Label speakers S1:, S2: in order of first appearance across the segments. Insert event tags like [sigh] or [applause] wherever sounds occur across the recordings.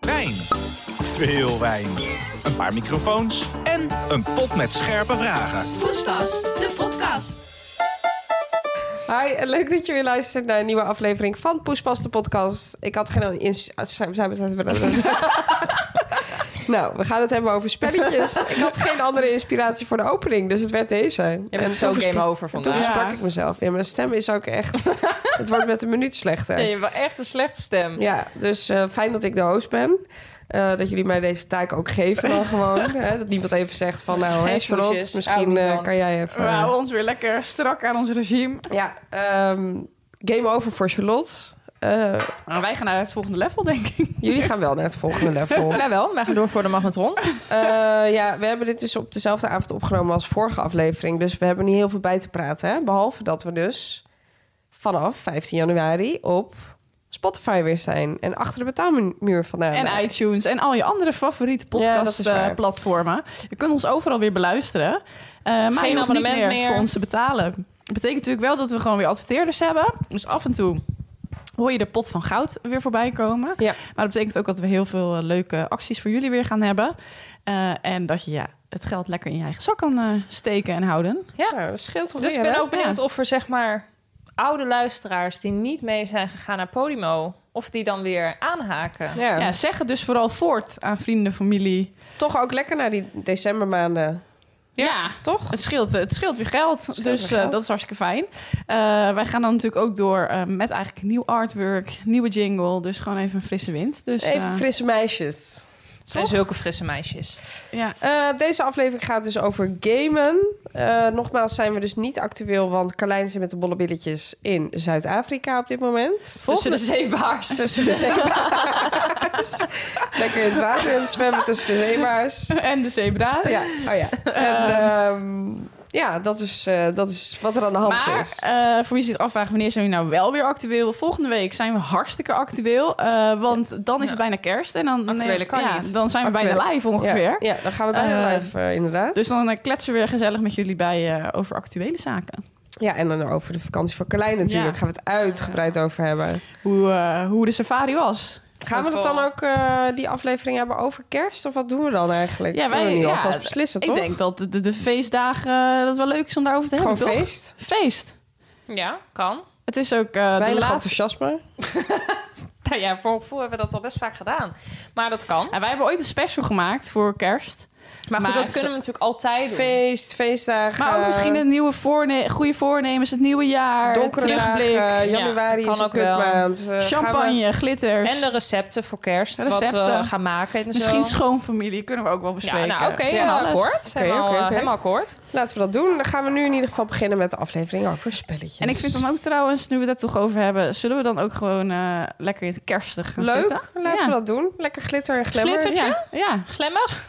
S1: Wijn. Veel wijn. Een paar microfoons en een pot met scherpe vragen.
S2: Poespas, de podcast.
S3: Oh,
S4: Hi, en leuk dat je weer luistert naar een nieuwe aflevering van Poespas de podcast. Ik had geen... ins- ah, zijn- zijn- zijn- zijn- zijn- [laughs] Nou, we gaan het hebben over spelletjes. Ik had geen andere inspiratie voor de opening, dus het werd deze.
S3: Je bent zo
S4: toen verspra-
S3: game over
S4: Toen
S3: vandaag.
S4: versprak ik mezelf. Ja, mijn stem is ook
S3: [laughs]
S4: echt... het wordt met een minuut slechter.
S3: Ja, je hebt wel echt een slechte stem.
S4: Ja, dus eh, fijn dat ik de host ben. Eh, dat jullie mij deze taak ook geven dan gewoon. hè? Dat niemand even zegt van nou,
S3: Geen
S4: hè, Charlotte,
S3: smoesjes.
S4: misschien
S3: Oude
S4: eh,
S3: man.
S4: kan jij even...
S5: We houden ons weer lekker strak aan ons regime.
S4: Ja, ehm, game over voor Charlotte. Eh,
S5: Maar wij gaan naar het volgende level, denk ik.
S4: jullie gaan wel naar het volgende
S5: [laughs]
S4: level.
S3: Nou wel, wij gaan door voor de magnetron.
S4: Eh, ja, we hebben dit dus op dezelfde avond opgenomen als vorige aflevering. Dus we hebben niet heel veel bij te praten. Hè? Behalve dat we dus vanaf 15 januari op Spotify weer zijn. En achter de betaalmuur vandaan.
S5: En iTunes en al je andere favoriete
S4: Ja, dat is waar.
S5: podcastplatformen. je kunt ons overal weer beluisteren. Eh, maar je hoeft niet
S3: abonnement
S5: meer,
S3: meer.
S5: voor ons te betalen. Dat betekent natuurlijk wel dat we gewoon weer adverteerders hebben. Dus af en toe hoor je de pot van goud weer voorbij komen.
S4: Ja.
S5: Maar dat betekent ook dat we heel veel eh, leuke acties voor jullie weer gaan hebben. Eh, en dat je ja, het geld lekker in je eigen zak kan eh, steken en houden.
S4: Nou, dat scheelt toch
S3: Dus ik
S4: weer,
S3: ben
S4: hè?
S3: ook benieuwd of er zeg maar oude luisteraars die niet mee zijn gegaan naar Podimo, of die dan weer aanhaken.
S4: Ja.
S5: Ja, zeg het dus vooral voort aan vrienden, familie.
S4: Toch ook lekker naar die decembermaanden,
S5: ja.
S4: toch?
S5: Het scheelt, eh, het scheelt weer geld,
S4: scheelt
S5: dus
S4: weer
S5: eh,
S4: geld.
S5: dat is hartstikke fijn. Eh, wij gaan dan natuurlijk ook door eh, met eigenlijk nieuw artwork, nieuwe jingle. Dus gewoon even een frisse wind. Dus, eh,
S4: Even frisse meisjes.
S3: Het zijn zulke frisse meisjes.
S5: ja. [laughs]
S4: Eh, deze aflevering gaat dus over gamen. Eh, nogmaals zijn we dus niet actueel, want Carlijn zit met de bollebilletjes in Zuid-Afrika op dit moment.
S3: Tussen de zeebaars.
S5: [laughs]
S4: Tussen de zeebaars. Lekker in het water in het zwemmen tussen de zeebaars.
S5: En de zebra's.
S4: Ja, oh ja. En,
S5: Eh.
S4: ehm, ja, dat is, eh, dat is wat er aan de hand
S5: Maar
S4: is.
S5: eh, voor wie zich afvraagt, wanneer zijn we nou wel weer actueel? Volgende week zijn we hartstikke actueel. eh, want dan is het bijna kerst. En dan, eh,
S3: Actuele kan
S5: ja,
S3: niet.
S5: Dan zijn we
S4: Actuele-
S5: bijna live ongeveer.
S4: Ja, ja, dan gaan we bijna
S5: Eh,
S4: live, eh, inderdaad.
S5: Dus dan eh, kletsen we weer gezellig met jullie bij eh, over actuele zaken.
S4: ja, en dan over de vakantie van Carlijn natuurlijk.
S5: Ja.
S4: Gaan we het uitgebreid over hebben.
S5: Hoe, eh, hoe de safari was.
S4: Gaan we het dan ook eh, die aflevering hebben over kerst? Of wat doen we dan eigenlijk?
S5: Ja, wij-
S4: Kunnen we nu
S5: ja,
S4: alvast beslissen,
S5: Ik
S4: toch?
S5: denk dat de, de, de feestdagen eh, dat het wel leuk is om daarover te
S4: Gewoon
S5: hebben. toch?
S4: feest.
S5: Feest.
S3: [laughs] Ja, kan.
S5: Het is ook eh de
S4: Weinig
S5: laatste.
S4: enthousiasme.
S3: Nou ja, voor mijn gevoel hebben we dat al best vaak gedaan. Maar dat kan.
S5: En wij hebben ooit een special gemaakt voor kerst.
S3: Maar goed,
S5: Maar
S3: dat
S5: het-
S3: kunnen we natuurlijk altijd doen.
S4: Feest, feestdagen.
S5: Maar ook misschien een nieuwe voorne goede voornemens, het nieuwe jaar,
S4: donkere
S5: het
S4: dagen.
S5: terugblik,
S4: Januari
S3: kan
S4: is een
S3: ook wel.
S4: kutmaand. Eh, gaan we-
S5: champagne, glitters.
S3: En de recepten voor kerst, wat
S5: Recepten.
S3: we gaan maken. En zo.
S5: Misschien schoonfamilie kunnen we ook wel
S3: Ja,
S5: bespreken.
S3: nou oké,
S4: Ja,
S3: eh,
S5: alles.
S3: akkoord.
S4: Oké,
S3: helemaal,
S4: oké,
S3: eh,
S4: oké.
S3: helemaal akkoord.
S4: Laten we dat doen. Dan gaan we nu in ieder geval beginnen met de aflevering over spelletjes.
S5: En ik vind dan ook trouwens, nu we dat toch over hebben, zullen we dan ook gewoon eh, lekker in het kerstig gaan
S4: leuk.
S5: zitten?
S4: Laten
S5: Ja.
S4: we dat doen. Lekker glitter en glamour.
S3: Glitter?
S5: Ja, ja.
S3: Glemmig.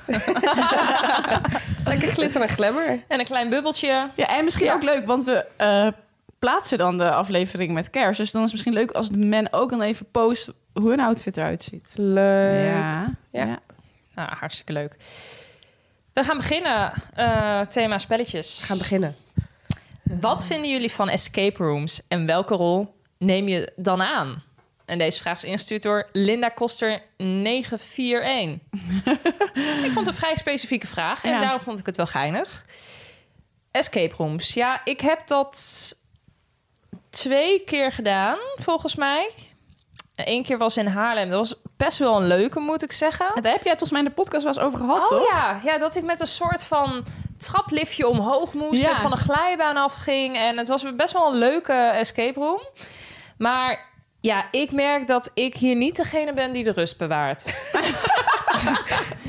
S4: Lekker glitter en glamour.
S3: En een klein bubbeltje.
S5: ja, en misschien
S4: Ja.
S5: ook leuk, want we eh, plaatsen dan de aflevering met kerst. Dus dan is het misschien leuk als men ook dan even post hoe een outfit eruit ziet.
S4: Leuk.
S5: Ja.
S4: Ja.
S5: ja.
S3: Nou, hartstikke leuk. We gaan beginnen. eh, thema spelletjes.
S4: We gaan beginnen.
S3: Wat vinden jullie van escape rooms en welke rol neem je dan aan? En deze vraag is ingestuurd door Linda Koster
S4: [laughs]
S3: 941. ik vond het een vrij specifieke vraag en
S5: Ja.
S3: daarom vond ik het wel geinig. Escape rooms. Ja, ik heb dat twee keer gedaan, volgens mij. Eén keer was in Haarlem. Dat was best wel een leuke, moet ik zeggen.
S5: En Daar heb jij het volgens mij in de podcast wel eens over gehad,
S3: oh
S5: toch?
S3: ja, ja, dat ik met een soort van trapliftje omhoog moest
S5: Ja.
S3: en van een glijbaan afging. En het was best wel een leuke escape room. Maar ja, ik merk dat ik hier niet degene ben die de rust
S4: [laughs]
S3: bewaart.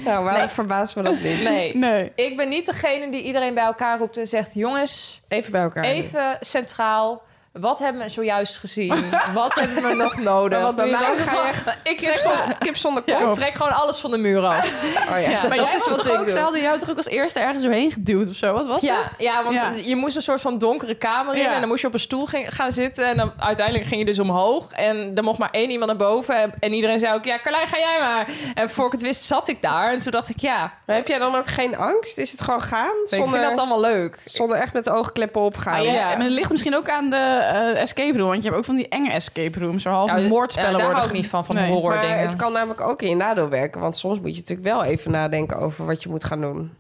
S4: Nou, waarom verbaast me dat niet?
S3: Nee.
S5: Nee.
S3: Ik ben niet degene die iedereen bij elkaar roept en zegt... jongens,
S4: Even bij elkaar.
S3: even centraal... Wat hebben we zojuist
S4: [laughs]
S3: gezien? Wat hebben we nog nodig?
S4: Maar wat doe je
S3: Bij
S4: dan?
S3: mij-
S4: Ga je echt
S3: ik,
S4: Kip
S3: trek,
S4: zonder, kip zonder kop.
S3: ik trek gewoon alles van de muur af.
S4: Oh ja.
S3: Ja,
S5: Maar
S3: dat
S5: jij
S3: is wat
S5: was toch
S3: ik
S5: ook,
S3: doe.
S5: ze hadden jou toch ook als eerste ergens doorheen geduwd of zo? Wat was
S3: Ja,
S5: het?
S3: ja, want
S5: Ja.
S3: je moest een soort van donkere kamer in.
S5: Ja.
S3: En dan moest je op een stoel ging- gaan zitten. En dan, uiteindelijk ging je dus omhoog. En dan mocht maar één iemand naar boven. En, en iedereen zei ook, ja, Carlijn, ga jij maar. En voor ik het wist, zat ik daar. En toen dacht ik, ja,
S4: Maar heb jij dan ook geen angst? Is het gewoon gaan?
S3: ik vind dat
S4: Zonder,
S3: allemaal leuk.
S4: zonder echt met de oogkleppen opgaan?
S3: Ah, ja.
S5: En het ligt misschien ook aan de eh, escape room. Want je hebt ook van die enge escape rooms. Waar half
S3: Ja, d-
S5: moordspellen
S3: ja, daar
S5: worden.
S3: hou ik
S5: ge-
S3: niet van, van
S5: Nee.
S3: horror
S4: Maar
S3: dingen.
S4: het kan namelijk ook in je nadeel werken. Want soms moet je natuurlijk wel even nadenken over wat je moet gaan doen.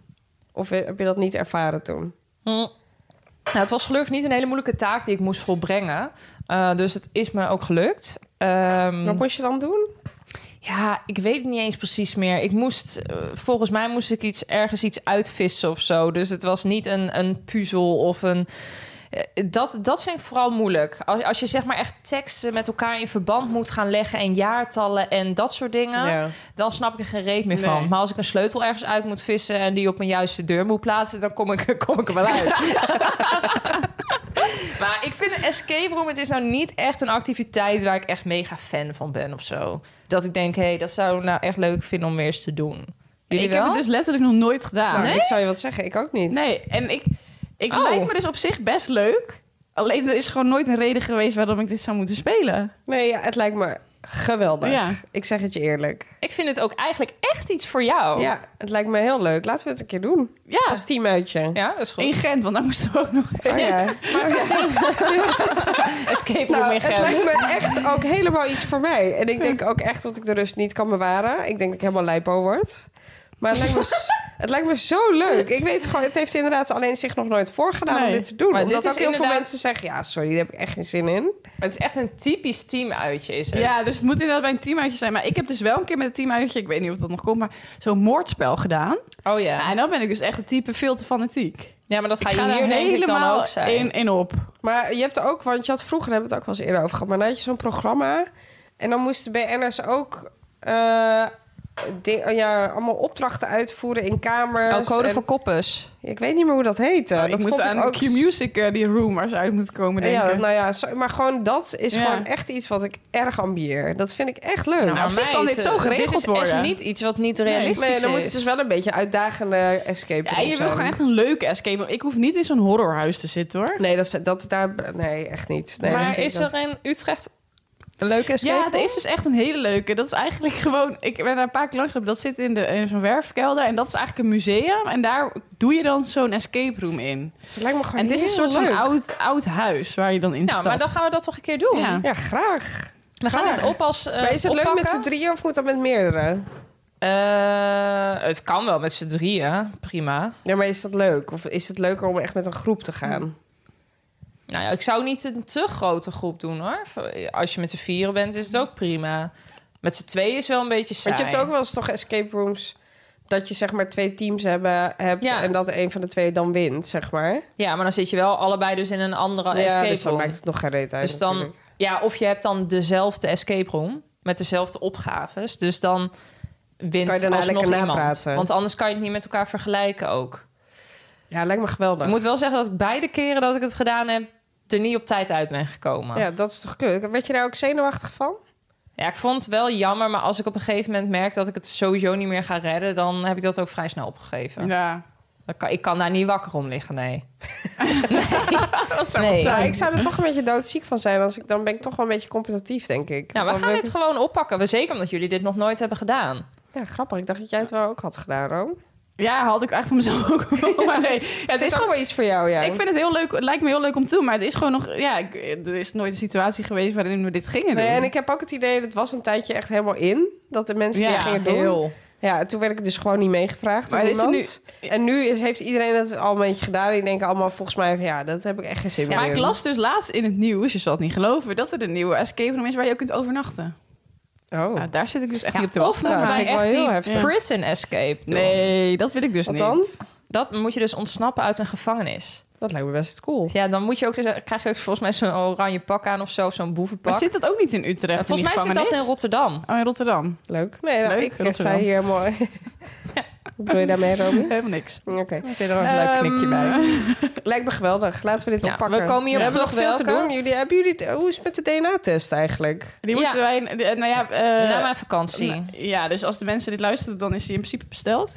S4: Of heb je dat niet ervaren toen?
S3: Hm. Nou, het was gelukkig niet een hele moeilijke taak die ik moest volbrengen. Eh, dus het is me ook gelukt. Ehm,
S4: Wat moest je dan doen?
S3: ja, ik weet het niet eens precies meer. Ik moest, eh, volgens mij moest ik iets, ergens iets uitvissen of zo. Dus het was niet een, een puzzel of een... eh, Dat, dat vind ik vooral moeilijk. Als, als je zeg maar echt teksten met elkaar in verband moet gaan leggen... en jaartallen en dat soort dingen... dan snap ik er geen reet meer
S5: Nee.
S3: van. Maar als ik een sleutel ergens uit moet vissen... en die op mijn juiste deur moet plaatsen... dan kom ik, kom ik er wel uit. [laughs] maar ik vind een escape room... het is nou niet echt een activiteit... waar ik echt mega fan van ben of zo. Dat ik denk, hé, hey, dat zou ik nou echt leuk vinden... om weer eens te doen. Jullie
S5: Ik
S3: wel?
S5: heb het dus letterlijk nog nooit gedaan.
S4: Nou, Ik zou je wat zeggen, ik ook niet.
S5: Nee, en ik, ik
S3: Oh.
S5: lijkt me dus op zich best leuk. Alleen er is gewoon nooit een reden geweest waarom ik dit zou moeten spelen.
S4: Nee, ja, het lijkt me geweldig.
S5: Ja.
S4: Ik zeg het je eerlijk.
S3: Ik vind het ook eigenlijk echt iets voor jou.
S4: Ja, het lijkt me heel leuk. Laten we het een keer doen.
S5: Ja,
S4: Als teamuitje.
S3: Ja, dat is goed.
S5: in Gent, want daar moesten we ook nog heen.
S4: Oh,
S3: [laughs]
S4: ja.
S3: Maar gezien...
S4: [laughs]
S3: escape room
S4: Nou,
S3: in
S4: het
S3: Gent.
S4: lijkt me echt ook helemaal iets voor mij. En ik denk ook echt dat ik de rust niet kan bewaren. Ik denk dat ik helemaal lijpo word. Maar het lijkt
S3: [laughs]
S4: me, s- het lijkt me zo leuk. Ik weet gewoon, het heeft inderdaad alleen zich nog nooit voorgedaan om
S5: Nee.
S4: dit te doen.
S3: Maar dit
S4: Omdat
S3: is
S4: ook heel veel
S3: inderdaad-
S4: mensen zeggen, ja, sorry, daar heb ik echt geen zin in.
S3: Het is echt een typisch teamuitje, is het.
S5: Ja, dus het moet inderdaad bij een teamuitje zijn. Maar ik heb dus wel een keer met een teamuitje, ik weet niet of dat nog komt, maar zo'n moordspel gedaan.
S3: Oh
S5: Ja,
S3: ja.
S5: en dan ben ik dus echt het type veel te fanatiek.
S3: Ja, maar dat ga
S5: ik
S3: je
S5: ga
S3: hier
S5: daar
S3: denk ik dan
S5: helemaal
S3: ook zijn.
S5: in, in op. Oh,
S4: Maar je hebt ook, want je had vroeger, daar hebben we het ook wel eens eerder over gehad... maar dan had je zo'n programma en dan moesten BN'ers ook... eh, di- oh ja, allemaal opdrachten uitvoeren in kamers.
S3: Oh, code
S4: en-
S3: voor Oh, koppers.
S4: Ik weet niet meer hoe dat heette.
S5: Ja,
S4: dat
S5: ik moest
S4: vond
S5: aan
S4: ik ook
S5: Q-Music eh, die room waar ze uit moeten komen
S4: Ja,
S5: denken.
S4: dat- nou ja, zo- maar gewoon dat is
S5: Ja.
S4: gewoon echt iets wat ik erg ambieer. Dat vind ik echt leuk.
S5: Nou, op zich kan dit zo geregeld
S3: dit is
S5: worden.
S3: echt niet iets wat niet
S4: Nee,
S3: realistisch
S4: dan
S3: is.
S4: moet het dus wel een beetje uitdagende escape
S5: Ja,
S4: room
S5: je wil
S4: zijn.
S5: gewoon echt een leuke escape. room. Ik hoef niet in zo'n horrorhuis te zitten hoor.
S4: Nee, dat, is- dat daar... Nee, echt niet. Nee, dat
S3: maar
S4: vind ik
S3: is
S4: dat-
S3: er in Utrecht een leuke escape
S5: Ja, er
S3: room?
S5: is dus echt een hele leuke. Dat is eigenlijk [laughs] gewoon... Ik ben daar een paar keer langs gelopen. Dat zit in, de, in zo'n werfkelder. En dat is eigenlijk een museum. En daar doe je dan zo'n escape room in.
S4: Het lijkt me gewoon
S5: en het is een
S4: heel
S5: soort van
S4: leuk.
S5: oud, oud huis waar je dan in
S3: Nou,
S5: stapt.
S3: maar dan gaan we dat toch een keer doen.
S5: Ja.
S4: Ja, graag.
S3: We gaan het op als eh
S4: maar is het leuk met z'n
S3: oppakken.
S4: drieën of moet dat met meerdere?
S3: Eh, het kan wel met z'n drieën, prima.
S4: Ja, maar is dat leuk? Of is het leuker om echt met een groep te gaan?
S3: Nou ja, ik zou niet een te grote groep doen hoor. Als je met z'n vieren bent, is het ook prima. Met z'n tweeën is wel een beetje saai.
S4: Want je hebt ook wel eens toch escape rooms... dat je zeg maar twee teams hebben, hebt...
S3: Ja.
S4: en dat een van de twee dan wint, zeg maar.
S3: Ja, maar dan zit je wel allebei dus in een andere
S4: ja,
S3: escape
S4: dus dan
S3: room.
S4: maakt het nog geen reet uit
S3: Dus dan,
S4: natuurlijk.
S3: ja, of je hebt dan dezelfde escape room met dezelfde opgaves. Dus dan wint
S4: Kan je daarna
S3: alsnog
S4: lekker
S3: iemand.
S4: napraten.
S3: Want anders kan je het niet met elkaar vergelijken ook.
S4: Ja, lijkt me geweldig.
S3: Ik moet wel zeggen dat beide keren dat ik het gedaan heb, er niet op tijd uit ben gekomen. Ja.
S4: Ja, dat is toch kut. Werd je daar ook zenuwachtig van?
S3: ik vond het wel jammer, maar als ik op een gegeven moment merk dat ik het sowieso niet meer ga redden, dan heb ik dat ook vrij snel opgegeven.
S5: Ja.
S3: Dan kan- ik kan daar niet wakker om liggen,
S4: [laughs]
S3: nee. dat zou
S4: Ja, ik zou er toch een beetje doodziek van zijn. Als ik, dan ben ik toch wel een beetje competitief, denk
S3: Nou, we
S4: ik. Want dan
S3: gaan
S4: wil
S3: dit
S4: ik
S3: gewoon oppakken. We- Zeker omdat jullie dit nog nooit hebben gedaan.
S4: Ja, grappig. Ik dacht dat jij het wel ook had gedaan, Room.
S5: ja, had ik eigenlijk van mezelf ook [laughs] wel. Maar nee, ja,
S4: Het
S5: het is
S4: is toch
S5: gewoon...
S4: wel iets voor jou, ja.
S5: Ik vind het heel leuk. Het lijkt me heel leuk om te doen. Maar het is gewoon nog... Ja, ik- er is nooit een situatie geweest waarin we dit gingen doen.
S4: Nee, en ik heb ook het idee, dat was een tijdje echt helemaal in. Dat de mensen dit gingen doen. Ja, en toen werd ik dus gewoon niet meegevraagd
S5: Maar
S4: door
S5: is er
S4: iemand. En nu is, heeft iedereen dat al een beetje gedaan. Die denken allemaal volgens mij, van, ja, dat heb ik echt geen zin
S5: Ja,
S4: meer
S5: maar ik
S4: in.
S5: las dus laatst in het nieuws, je zal het niet geloven, dat er een nieuwe escape room is waar je ook kunt overnachten.
S4: Oh,
S5: Nou, daar zit ik dus echt
S3: Ja,
S5: niet op te
S3: of
S5: wachten.
S3: moeten
S4: dat
S3: wij
S4: vind ik wel
S3: echt
S4: heel
S3: die
S4: heftig.
S3: prison escape doen?
S5: Nee, dat wil ik dus
S4: wat
S5: niet.
S4: dan?
S3: Dat moet je dus ontsnappen uit een gevangenis.
S4: Dat lijkt me best cool.
S3: Ja, dan moet je ook, dus- krijg je ook volgens mij zo'n oranje pak aan of zo, of zo'n boevenpak.
S5: Maar zit dat ook niet in Utrecht?
S3: Eh,
S5: in
S3: volgens
S5: die
S3: mij zit dat in
S5: gevangenis?
S3: Rotterdam.
S5: Oh, in Rotterdam.
S4: Leuk. Nee, nou,
S5: Leuk,
S4: ik sta
S5: Rotterdam.
S4: hier
S5: [laughs]
S4: mooi. Wat bedoel je daarmee, Romy?
S5: Helemaal niks. Ehm,
S4: Oké.
S5: Ik vind er ook een leuk knikje bij.
S4: Lijkt me geweldig. Laten we dit
S3: Ja,
S4: oppakken.
S3: we komen hier
S4: we
S3: op
S4: hebben nog
S3: terug
S4: veel te
S3: welke.
S4: doen. Jullie, hebben jullie, hoe is het met de DNA-test eigenlijk?
S5: Die
S3: Ja.
S5: moeten wij... die- eh, Nou ja, eh,
S3: Na mijn vakantie.
S5: nou, Ja, dus als de mensen dit luisteren, dan is die in principe besteld.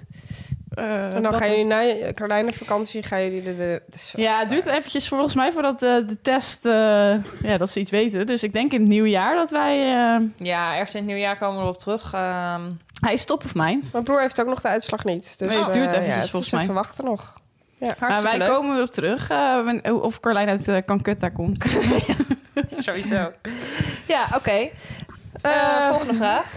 S5: Eh,
S4: En dan
S5: dat
S4: gaan
S5: is-
S4: jullie na je Carolijn vakantie, gaan jullie de... de, de zo-
S5: Ja, het duurt eventjes volgens mij voordat eh, de test... eh, ja, dat ze iets weten. Dus ik denk in het nieuwjaar dat wij... eh,
S3: Ja, ergens in het nieuwjaar komen we erop terug. ehm. [laughs]
S5: hij is top of mind.
S4: Mijn broer heeft ook nog de uitslag niet. Dus,
S5: Nee, het duurt
S4: eh,
S5: eventjes
S4: ja, het
S5: volgens
S4: is
S5: mij.
S4: Even wachten nog.
S5: Maar wij
S3: Hartstikke leuk.
S5: komen erop terug eh, wen- of Carlijn uit eh, Calcutta
S3: [laughs]
S5: komt.
S3: Sowieso. Ja, oké. Eh,
S4: Eh,
S3: volgende vraag.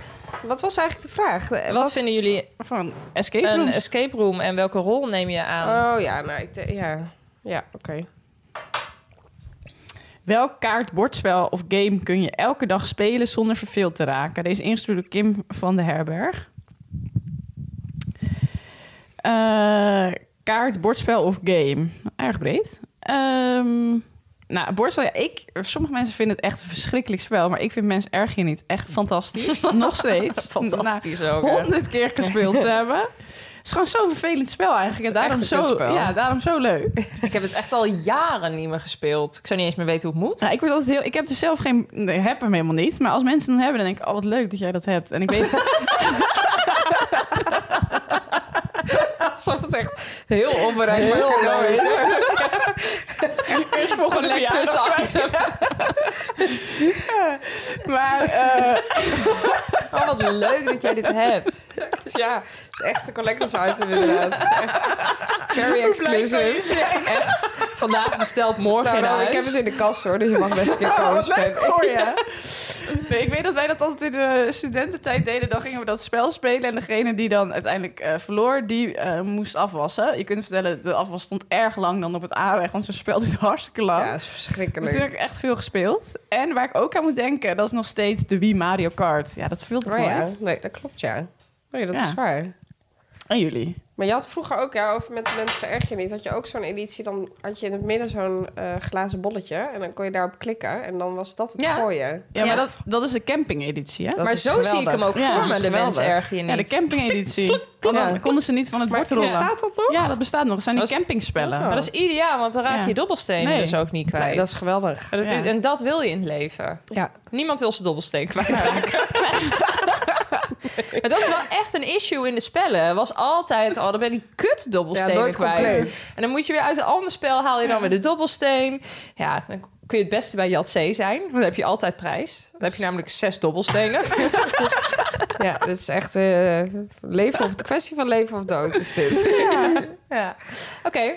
S4: Wat was eigenlijk de vraag? Eh,
S3: Wat vinden jullie
S5: Van escape
S3: een
S5: rooms.
S3: escape room en welke rol neem je aan?
S4: Oh ja, nou, ik de- ja. Ja, oké.
S5: Welk kaart, bordspel of game kun je elke dag spelen zonder verveeld te raken? Deze ingestuurd door Kim van de Herberg. Eh, kaart, bordspel of game? Erg breed. Ehm, nou, bordspel, ja, ik, sommige mensen vinden het echt een verschrikkelijk spel, maar ik vind mensen erg hier niet echt
S4: [laughs]
S5: fantastisch. Nog steeds.
S3: Fantastisch
S5: Na
S3: ook. hè?
S5: Honderd keer gespeeld te hebben. Het is gewoon zo'n vervelend spel eigenlijk. En
S4: Het is echt
S5: daarom
S4: een
S5: zo,
S4: kutspel.
S5: ja, daarom zo leuk.
S3: Ik heb het echt al jaren niet meer gespeeld. Ik zou niet eens meer weten hoe het moet.
S5: Nou, ik, word altijd heel, ik heb dus zelf geen. Nee, heb hem helemaal niet. Maar als mensen hem hebben, dan denk ik: oh, wat leuk dat jij dat hebt. En ik weet.
S4: Alsof het echt heel onbereikbaar heel
S3: [laughs]
S4: is.
S5: Eerst volgende
S3: Lekker tussen achter.
S5: [laughs] Maar. eh,
S3: Oh, wat leuk dat jij dit hebt.
S4: Ja, het is echt een collectors item inderdaad. Het is Echt very exclusive.
S3: Echt. Vandaag besteld, morgen
S4: Nou,
S3: in
S4: nou,
S3: huis.
S4: ik heb het in de kast hoor, dus je mag best een keer
S5: oh,
S4: komen
S5: wat leuk
S4: spelen.
S5: voor je. [laughs] Nee, ik weet dat wij dat altijd in de studententijd deden. Dan gingen we dat spel spelen. En degene die dan uiteindelijk eh, verloor, die eh, moest afwassen. Je kunt vertellen, de afwas stond erg lang dan op het aanrecht. Want zo'n spel [laughs] duurt hartstikke lang.
S4: Ja, dat is
S5: Maar toen
S4: verschrikkelijk.
S5: heb ik echt veel gespeeld. En waar ik ook aan moet denken, dat is nog steeds de Wii Mario Kart. Ja, dat vult het
S4: Maar
S5: wel
S4: ja,
S5: uit.
S4: nee, dat klopt ja. Nee, dat
S5: Ja.
S4: is waar.
S5: En jullie?
S4: Maar je had vroeger ook, ja, over met mensen erg je niet, had je ook zo'n editie, dan had je in het midden zo'n eh, glazen bolletje en dan kon je daarop klikken en dan was dat het
S3: Ja.
S4: gooien.
S5: Ja,
S3: Ja,
S5: maar
S3: dat-
S5: dat, dat is de camping-editie, hè?
S4: Dat
S3: maar
S4: is
S3: zo zie ik
S4: geweldig.
S3: hem ook
S5: Ja,
S3: voor
S5: dat
S3: me,
S5: is
S3: de
S4: geweldig.
S3: mensen erg je niet.
S5: Ja, de camping-editie. Want dan
S4: Ja.
S5: konden ze niet van het bord
S4: Maar
S5: rollen.
S4: bestaat dat nog?
S5: Ja, dat bestaat nog. Het zijn die
S3: Dat is-
S5: campingspellen.
S4: Ja.
S3: Maar dat is ieder jaar, want dan raak je
S5: Ja.
S3: je dobbelstenen
S5: Nee.
S3: dus ook niet kwijt.
S4: Nee, dat is geweldig.
S3: Maar dat-
S5: Ja.
S3: En dat wil je in het leven.
S4: Ja.
S3: Niemand wil zijn [laughs] dobbelsteen kwijtraken. Maar dat is wel echt een issue in de spellen. Was altijd al, dan ben je die kut
S4: Ja,
S3: dobbelstenen
S4: nooit
S3: kwijt.
S4: compleet.
S3: En dan moet je weer uit een ander spel haal je dan weer de dobbelsteen. Ja, dan kun je het beste bij Jat C zijn. Want dan heb je altijd prijs. Dan heb
S4: Dus-
S3: je namelijk zes
S4: [laughs]
S3: dobbelstenen.
S4: Ja, dit is echt eh, leven of de kwestie van leven of dood is dit.
S3: ja. Oké.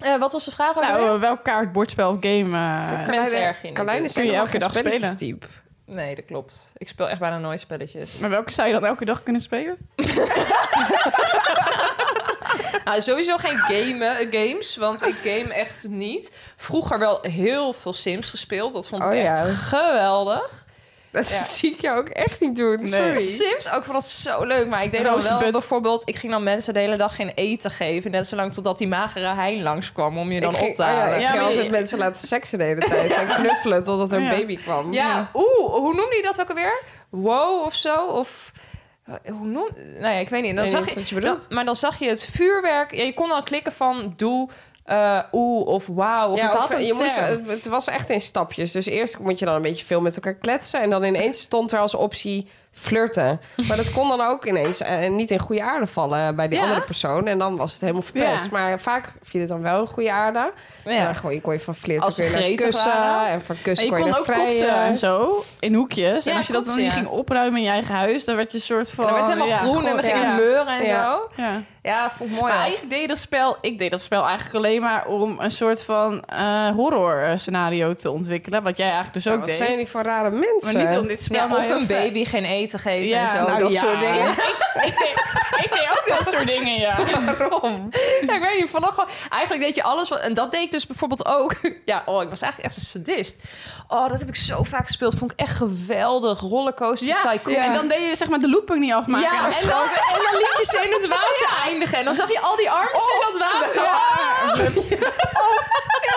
S3: Eh, wat was de vraag? ook alweer?
S5: Nou, eh, welk kaart, bordspel of game... eh,
S3: mensen erg je niet.
S4: Carlijn is
S5: Kun je
S4: helemaal
S5: elke
S4: geen
S5: dag spelen?
S4: spelletjestype.
S3: Nee, dat klopt. Ik speel echt bijna nooit spelletjes.
S5: maar welke zou je dan elke dag kunnen spelen?
S3: Nou, sowieso geen game, games, want ik game echt niet. Vroeger wel heel veel Sims gespeeld. Dat vond ik
S4: Oh, ja.
S3: echt geweldig.
S4: Dat
S3: Ja.
S4: zie ik jou ook echt niet doen,
S5: Nee.
S4: sorry.
S3: Sims, ook vond dat zo leuk. Maar ik deed dan wel
S5: Rozenbud.
S3: bijvoorbeeld... Ik ging dan mensen de hele dag geen eten geven. Net zolang totdat die magere hein langskwam om je dan
S4: ik
S3: op
S4: ging,
S3: te
S4: oh ja,
S3: halen.
S4: ik
S5: Ja,
S3: ja,
S4: ging
S5: maar je-
S4: altijd mensen laten seksen de hele tijd en knuffelen totdat er een
S5: Ja.
S4: baby kwam.
S3: oeh, hoe noemde je dat ook alweer? Wow of zo? Of... Hoe noem... Nou ja, ik weet niet. Dan
S4: Nee,
S3: zag
S4: niet
S3: je,
S4: wat je bedoelt.
S3: dan- maar dan zag je het vuurwerk. Ja, je kon dan klikken van doe eh oeh of wauw. Of
S4: Ja,
S3: het
S4: of eh,
S3: had een
S4: je moest,
S3: term.
S4: het, het was echt in stapjes. Dus eerst moet je dan een beetje veel met elkaar kletsen. En dan ineens stond er als optie flirten. Maar dat kon dan ook ineens eh, niet in goede aarde vallen bij die
S3: Ja.
S4: andere persoon. En dan was het helemaal verpest.
S5: Ja.
S4: Maar vaak viel het dan wel in goede aarde. En dan
S3: Ja.
S4: gewoon, je kon je van flirten
S3: Als
S4: kun je
S3: ze
S4: naar
S3: gretig
S4: kussen.
S3: waren.
S4: En van
S5: En
S4: kussen
S5: je
S4: kon je
S5: kon
S4: naar
S5: ook
S3: eh,
S5: kotsen en
S4: vrijen.
S5: zo, in hoekjes. en
S3: Ja,
S5: als je dat dan
S3: kotsen,
S5: niet
S3: ja.
S5: ging opruimen in je eigen huis, dan werd je een soort van...
S3: En dan werd het helemaal
S5: ja,
S3: groen en
S5: gewoon-
S3: dan ging
S5: ja.
S3: het meuren en
S4: Ja.
S3: zo.
S5: Ja.
S3: Ja, vond ik mooi.
S5: Maar
S3: ja.
S5: eigenlijk deed je dat spel, ik deed dat spel eigenlijk alleen maar om een soort van eh, horror eh, scenario te ontwikkelen. Wat jij eigenlijk dus
S4: Ja,
S5: ook
S4: wat
S5: deed.
S4: zijn die voor rare
S5: maar
S4: mensen?
S5: niet om dit spel
S3: eh? Ja,
S5: nou
S3: of
S5: heel
S3: een
S5: ver-
S3: baby geen eten geven en zo.
S5: nou
S3: dat
S4: ja.
S3: soort dingen.
S5: ik, deed- [laughs] ik deed ook dat soort dingen, ja.
S3: [laughs]
S4: Waarom?
S3: Ja, [laughs] ik weet niet, vanaf gewoon... Eigenlijk deed je alles... wat- En dat deed ik dus bijvoorbeeld ook... [laughs] Ja, oh, ik was eigenlijk echt een sadist. Oh, dat heb ik zo vaak gespeeld. Vond ik echt geweldig. Rollercoaster
S5: Ja,
S3: tycoon.
S5: En dan deed je zeg maar de looping niet afmaken.
S3: Ja, en dan, en dan liet je ze in het water eindigen. En dan zag je al die armpjes in dat water.
S5: [laughs]
S3: ah.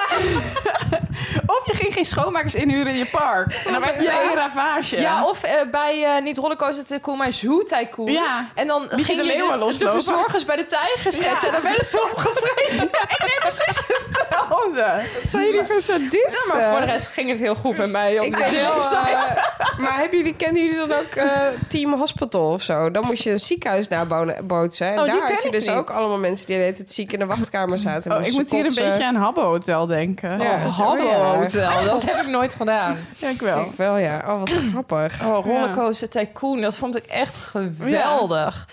S5: Of je ging geen schoonmakers inhuren in je park. En dan werd het
S3: Ja.
S5: een ravage.
S3: Ja,
S5: [laughs]
S3: of eh, bij eh, niet rollercoaster tycoon, maar zoo tycoon.
S5: Ja.
S3: En dan
S5: je
S3: ging
S5: de
S3: je
S5: leeuwen
S3: de, de
S5: loslopen.
S3: verzorgers bij de tijgers zetten. En dan werden ze [laughs] opgevreten.
S5: Oh, Hetzelfde.
S4: Wat zijn jullie voor sadisten?
S3: maar voor de rest ging het heel goed met mij. Op
S4: Ik
S3: die
S4: denk
S5: [laughs]
S4: wel,
S3: website.
S4: eh, maar hebben jullie, kenden jullie dan ook eh, Team Hospital of zo? Dan moest je een ziekenhuis nabootsen. En
S3: Oh, die
S4: daar
S3: ken
S4: had je
S3: ik
S4: dus
S3: niet.
S4: ook allemaal mensen die de hele tijd ziek in de wachtkamer zaten. en
S5: Oh, ik
S4: moesten
S5: moet hier een
S4: kotsen.
S5: beetje aan Habbo Hotel denken.
S4: Ja.
S5: Oh,
S3: Habbo
S4: Ja.
S3: Hotel, dat heb ik nooit gedaan.
S5: ja, ik wel.
S4: Ik wel, ja. Oh, wat grappig.
S3: Oh, Rollercoaster Tycoon, dat vond ik echt geweldig.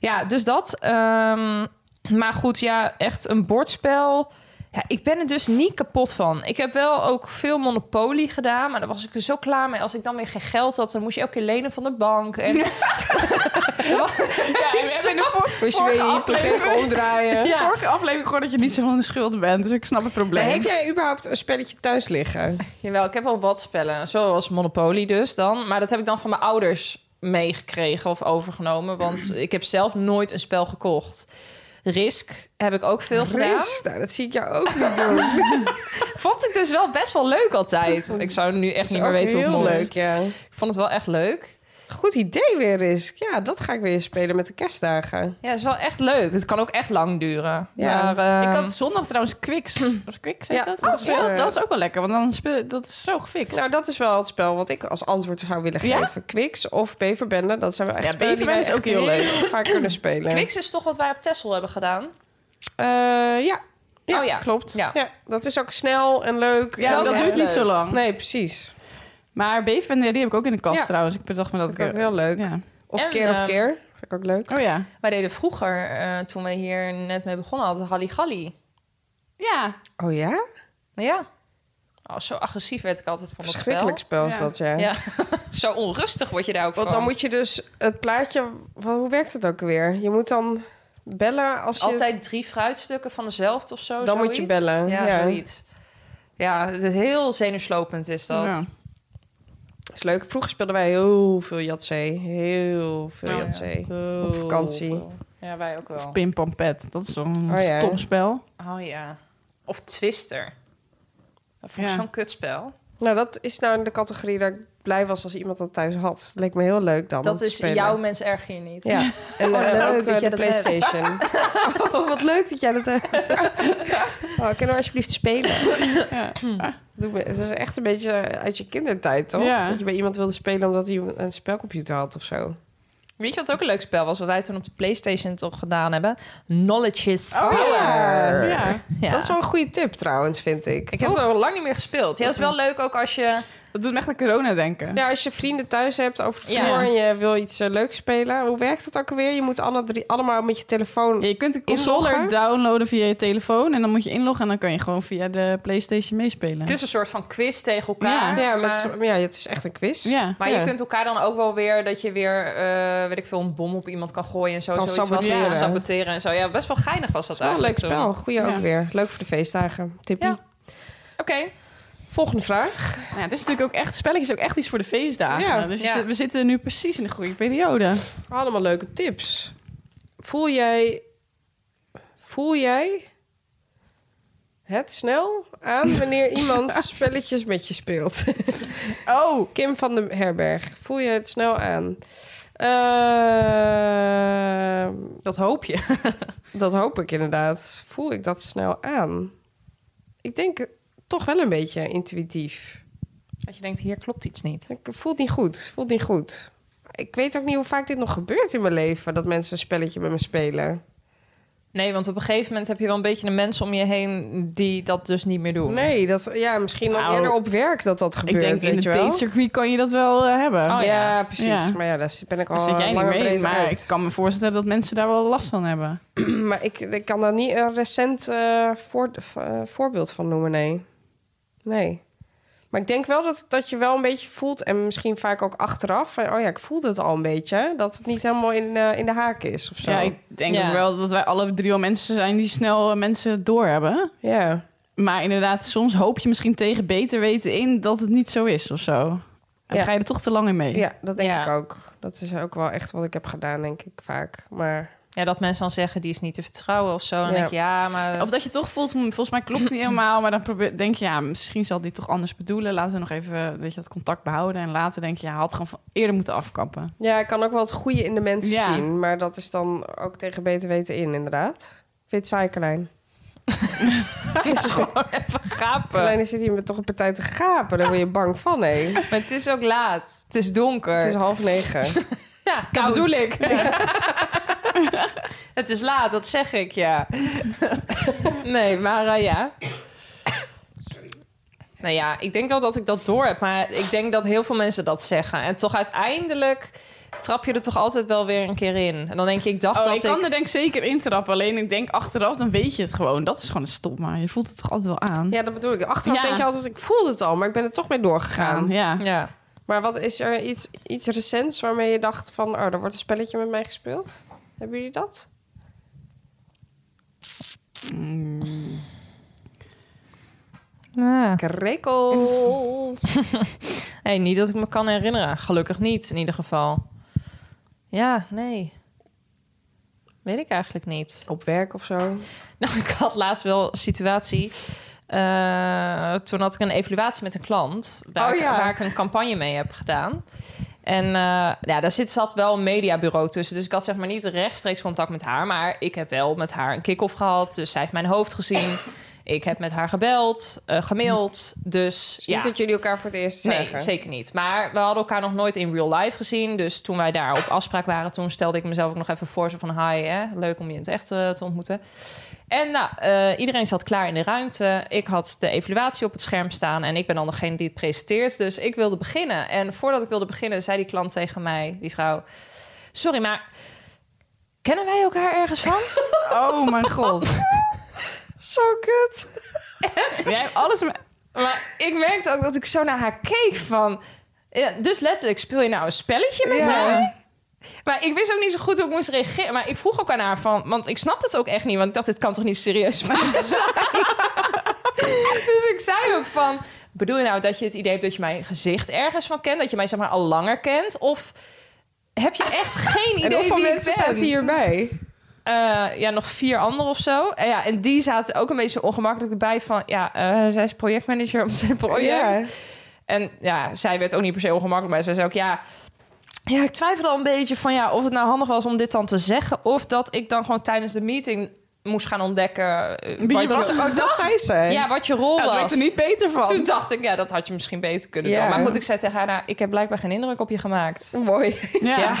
S3: Ja, dus dat. ehm, Maar goed, ja, echt een bordspel. Ja, ik ben er dus niet kapot van. Ik heb wel ook veel Monopoly gedaan, maar daar was ik er zo klaar mee. Als ik dan weer geen geld had, dan moest je elke keer lenen van de bank. En... ja,
S5: we hebben in de vor-
S4: Moest je
S5: vorige
S4: weer je
S5: aflevering-
S4: hypotheek omdraaien.
S3: Ja.
S5: Vorige aflevering gewoon dat je niet zo van de schuld bent. Dus ik snap het probleem.
S4: Maar heb jij überhaupt een spelletje thuis liggen?
S3: Jawel, ik heb wel wat spellen. Zoals Monopoly dus dan. Maar dat heb ik dan van mijn ouders meegekregen of overgenomen. Want [clears throat] ik heb zelf nooit een spel gekocht. Risk heb ik ook veel gedaan.
S4: Chris, nou, dat zie ik jou ook niet
S5: [laughs]
S4: doen. Dat
S3: Vond ik dus wel best wel leuk [laughs] altijd. Ik zou nu echt
S4: is
S3: niet
S4: ook
S3: meer weten hoe
S4: heel
S3: het moet.
S4: leuk, ja.
S3: Ik vond het wel echt leuk.
S4: Goed idee weer, Risk. Ja, dat ga ik weer spelen met de kerstdagen.
S3: Ja, het is wel echt leuk. Het kan ook echt lang duren.
S4: Ja.
S3: Maar,
S5: Ik
S3: ehm,
S5: had zondag trouwens Quicks. Was Quicks heet
S4: Hm. Ja,
S5: dat?
S4: dat
S5: Dat,
S4: is,
S5: speel-
S4: eh,
S5: dat is ook wel lekker, want dan speel, dat is zo gefixt.
S4: Nou, dat is wel het spel wat ik als antwoord zou willen
S5: Ja?
S4: geven. Quicks of Beverbende, dat zijn we echt
S5: Ja,
S4: spellen die wij
S5: Beverbende is
S4: echt
S5: ook heel leuk.
S4: heel vaak kunnen spelen.
S3: Quicks is toch wat wij op Tessel hebben gedaan.
S4: Eh, ja. Ja,
S3: Oh ja.
S4: klopt.
S3: Ja.
S4: dat is ook snel en leuk.
S5: ja,
S4: En
S5: maar dat
S4: ook
S5: duurt
S4: echt
S5: niet
S4: leuk.
S5: zo lang.
S4: Nee, precies.
S5: Maar Beefbende, die heb ik ook in de kast
S4: Ja.
S5: trouwens. Ik bedacht me dat,
S4: Dat vind ik ook heel leuk.
S5: Ja. eh,
S4: Of
S3: En,
S4: keer op
S3: ehm,
S4: keer. Vind ik ook leuk.
S5: Oh ja.
S3: Wij deden vroeger, eh, toen we hier net mee begonnen, hadden Halli Galli.
S5: Ja.
S4: Oh ja?
S3: Maar ja, oh, zo agressief werd ik altijd van dat spel.
S4: Verschrikkelijk spel is
S5: Ja.
S4: dat, ja.
S3: Ja, zo onrustig word je daar ook
S4: Want
S3: van.
S4: dan moet je dus het plaatje... Wat, hoe werkt het ook weer? Je moet dan bellen als dus je...
S3: Altijd drie fruitstukken van dezelfde of zo.
S4: Dan moet je
S3: zoiets.
S4: bellen,
S3: Ja,
S4: ja.
S3: zoiets. Ja, het is heel zenuwslopend is dat.
S5: Ja.
S4: is leuk. Vroeger speelden wij heel veel Jatzee. Heel veel
S3: Oh, ja.
S4: Jatzee.
S3: Heel
S4: Op vakantie.
S3: veel. Ja, wij ook wel.
S5: Pim Pam Pet. Dat is zo'n
S4: Oh ja.
S5: stom spel.
S3: Oh ja. Of Twister. Dat vond ik
S5: Ja.
S3: zo'n kutspel.
S4: Nou, dat is nou in de categorie dat ik blij was als iemand dat thuis had. Leek me heel leuk dan. om
S3: dat
S4: te
S3: is
S4: spelen.
S3: jouw mens erg hier niet.
S4: Ja, en
S3: Oh,
S4: eh,
S3: leuk
S4: ook
S3: dat
S4: eh,
S3: jij
S4: de
S3: dat hebt.
S4: PlayStation. [laughs] oh, wat leuk dat jij dat
S3: [laughs]
S4: hebt. oh, kunnen we alsjeblieft spelen?
S5: Ja.
S4: Doe me- het is echt een beetje eh, uit je kindertijd, toch?
S5: Ja. Oh,
S4: Dat je bij iemand wilde spelen omdat hij een spelcomputer had of zo.
S3: Weet je wat ook een leuk spel was? Wat wij toen op de Playstation toch gedaan hebben? Knowledge is power.
S5: Ja.
S3: Ja.
S4: Oh, Dat is wel een goede tip trouwens, vind ik.
S3: Ik heb het
S4: Toch?
S3: al lang niet meer gespeeld. Ja, dat is wel leuk ook als je...
S5: Dat doet me echt aan corona denken.
S4: Ja, als je vrienden thuis hebt over de
S3: Ja.
S4: vloer en je wil iets eh, leuks spelen. Hoe werkt dat ook alweer? Je moet alle drie, allemaal met je telefoon...
S5: Ja, je kunt de console
S4: Inloggen?
S5: downloaden via je telefoon. En dan moet je inloggen. En dan kan je gewoon via de Playstation meespelen.
S3: Het
S4: Dus-
S3: is dus een soort van quiz tegen elkaar.
S5: Ja.
S4: Ja, met,
S3: maar-
S4: zo- ja, het is echt een quiz.
S5: ja.
S3: Maar
S4: Ja.
S3: je kunt elkaar dan ook wel weer dat je weer, eh, weet ik veel, een bom op iemand kan gooien en zo.
S4: Kan
S3: zoiets was het.
S4: saboteren.
S3: Kan saboteren en zo. Ja, best wel geinig was dat
S4: Het is wel een leuk
S3: eigenlijk. toen.
S4: spel. Goeie
S5: Ja.
S4: ook weer. Leuk voor de feestdagen. Tippie.
S3: Ja. Oké.
S4: Volgende vraag.
S5: Nou, het is natuurlijk ook echt, spelletjes ook echt iets voor de feestdagen.
S4: Ja.
S5: Dus je
S3: Ja.
S5: zit- we zitten nu precies in de goede periode.
S4: Allemaal leuke tips. Voel jij... Voel jij... Het snel aan
S3: [laughs]
S4: wanneer iemand spelletjes met je speelt.
S5: Oh,
S4: [laughs] Kim van den Herberg. Voel je het snel aan? Ehm,
S3: Dat hoop je. [laughs]
S4: dat hoop ik inderdaad. Voel ik dat snel aan? Ik denk toch wel een beetje intuïtief.
S3: Dat je denkt, hier klopt iets niet.
S4: Ik voelt niet goed. Voelt niet goed. Ik weet ook niet hoe vaak dit nog gebeurt in mijn leven dat mensen een spelletje met me spelen.
S3: Nee, want op een gegeven moment heb je wel een beetje de mensen om je heen die dat dus niet meer doen.
S4: Nee, dat ja, misschien al
S5: Nou,
S4: eerder op werk dat dat gebeurt.
S5: ik denk in
S4: weet
S5: het
S4: je wel?
S5: datecircuit kan je dat wel eh, hebben.
S3: Oh,
S4: ja.
S3: ja.
S4: precies.
S5: Ja.
S4: Maar ja, daar ben ik
S5: Daar
S4: al
S5: zit jij niet
S4: lang en
S5: mee,
S4: breed
S5: maar
S4: uit.
S5: ik kan me voorstellen dat mensen daar wel last van hebben.
S4: [clears throat] Maar ik, ik kan daar niet een recent eh, voor, eh, voorbeeld van noemen, nee. Nee. Maar ik denk wel dat, dat je wel een beetje voelt... en misschien vaak ook achteraf... van, oh ja, ik voelde het al een beetje... dat het niet helemaal in, eh, in de haak is of zo.
S5: Ja, ik denk
S3: Ja.
S5: ook wel dat wij alle drie wel mensen zijn die snel eh, mensen doorhebben.
S4: Ja.
S5: Maar inderdaad, soms hoop je misschien tegen beter weten in dat het niet zo is of zo.
S4: Ja.
S5: En dan ga je er toch te lang in mee.
S4: ja, dat denk
S3: Ja.
S4: ik ook. Dat is ook wel echt wat ik heb gedaan, denk ik, vaak. Maar
S3: Ja, dat mensen dan zeggen, die is niet te vertrouwen of zo. Dan
S4: Ja.
S3: denk je, ja, maar...
S5: Of dat je toch voelt, hm, volgens mij klopt het niet helemaal. Maar dan probeer, denk je, ja, misschien zal die toch anders bedoelen. Laten we nog even eh, weet je, dat contact behouden. En later denk je, ja, had gewoon van eerder moeten afkappen.
S4: ja, ik kan ook wel het goede in de mensen
S5: Ja.
S4: zien... maar dat is dan ook tegen beter weten in, inderdaad. Vindt saai, Carlijn?
S3: is gewoon [laughs] even gapen.
S4: Carlijn, dan zit hier met toch een partij te gapen. Daar word je bang van, hé.
S3: Maar het is ook laat. Het is donker.
S4: Het is half negen.
S5: [laughs]
S3: Ja, dat bedoel ik. [laughs] het is laat, dat zeg ik, ja. nee, maar eh, ja. Nou ja, ik denk wel dat ik dat door heb. Maar ik denk dat heel veel mensen dat zeggen. En toch uiteindelijk trap je er toch altijd wel weer een keer in. En dan denk je, ik dacht
S5: Oh,
S3: dat
S5: ik kan
S3: ik...
S5: er denk ik zeker intrappen. Alleen ik denk achteraf, dan weet je het gewoon. Dat is gewoon een stom, maar je voelt het toch altijd wel aan.
S4: Ja, dat bedoel ik. Achteraf
S5: Ja.
S4: denk je altijd, ik voelde het al, maar ik ben er toch mee doorgegaan.
S5: Gaan, ja.
S3: Ja.
S4: Maar wat is er iets, iets recents waarmee je dacht van... oh, er wordt een spelletje met mij gespeeld? Hebben jullie dat? Ah.
S5: [laughs]
S4: Krekels.
S3: Hey, niet dat ik me kan herinneren. Gelukkig niet, in ieder geval. Ja, nee. Weet ik eigenlijk niet.
S4: Op werk of zo.
S3: [laughs] Nou, ik had laatst wel een situatie. eh, toen had ik een evaluatie met een klant. Waar,
S4: Oh,
S3: ik,
S4: ja.
S3: waar ik een campagne mee heb gedaan. En eh, ja, daar zit, zat wel een mediabureau tussen. Dus ik had zeg maar niet rechtstreeks contact met haar. Maar ik heb wel met haar een kick-off gehad. Dus zij heeft mijn hoofd gezien. Ik heb met haar gebeld, eh gemaild. Dus
S4: Dus
S3: ja.
S4: niet dat jullie elkaar voor het eerst
S3: Nee,
S4: zagen.
S3: zeker niet. Maar we hadden elkaar nog nooit in real life gezien. Dus toen wij daar op afspraak waren, toen stelde ik mezelf ook nog even voor. Zo van, hi, hè? leuk om je in het echt eh, te ontmoeten. En nou, eh, iedereen zat klaar in de ruimte. Ik had de evaluatie op het scherm staan. En ik ben dan degene die het presenteert. Dus ik wilde beginnen. En voordat ik wilde beginnen, zei die klant tegen mij, die vrouw... Sorry, maar kennen wij elkaar ergens van?
S5: Oh mijn god.
S4: Zo kut.
S5: [laughs] Jij hebt alles... me-
S3: maar ik merkte ook dat ik zo naar haar keek van... ja, dus letterlijk, speel je nou een spelletje met
S4: Ja.
S3: mij? Maar ik wist ook niet zo goed hoe ik moest reageren. Maar ik vroeg ook aan haar van... Want ik snapte het ook echt niet. Want ik dacht, dit kan toch niet serieus
S4: [laughs]
S3: van me zijn? [laughs] dus ik zei ook van... Bedoel je nou dat je het idee hebt dat je mijn gezicht ergens van kent? Dat je mij zeg maar al langer kent? Of heb je echt geen idee
S4: En hoeveel
S3: wie ik
S4: mensen
S3: ben?
S4: zaten hierbij?
S3: Eh, ja, nog vier anderen of zo. En, ja, en die zaten ook een beetje ongemakkelijk erbij van... ja, eh, zij is projectmanager op zijn project.
S4: Ja.
S3: En ja, zij werd ook niet per se ongemakkelijk, maar zij zei ook ja... Ja, ik twijfelde al een beetje van ja, of het nou handig was om dit dan te zeggen... of dat ik dan gewoon tijdens de meeting moest gaan ontdekken... eh,
S5: Wie je
S4: Dat,
S5: was.
S3: je,
S4: oh, dat zei zij.
S3: ja, wat je rol
S5: Ja, dat
S3: was.
S5: werd er niet beter van.
S3: Toen dacht ik, ja, dat had je misschien beter kunnen
S4: Ja.
S3: doen. Maar goed, ik zei tegen haar, nou, ik heb blijkbaar geen indruk op je gemaakt.
S4: Mooi.
S5: ja.
S3: Ja,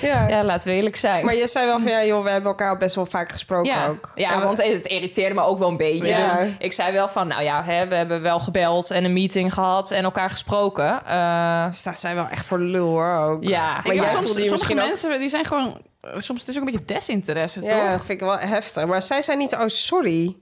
S4: Ja.
S3: ja laten we eerlijk zijn.
S4: Maar je zei wel van, ja joh, we hebben elkaar best wel vaak gesproken
S3: ja,
S4: ook.
S3: ja
S4: En
S3: want het irriteerde me ook wel een beetje.
S4: Ja.
S3: Dus ik zei wel van, nou ja, hè, we hebben wel gebeld en een meeting gehad en elkaar gesproken. Eh,
S4: staat zij wel echt voor lul hoor ook.
S3: ja,
S4: Maar
S5: Ik
S4: jij
S5: heb soms,
S4: voelde je
S5: sommige
S4: misschien ook-
S5: mensen die zijn gewoon... eh, Soms het is ook een beetje desinteresse,
S4: Ja,
S5: toch?
S4: vind ik wel heftig. Maar zij zei niet, oh sorry.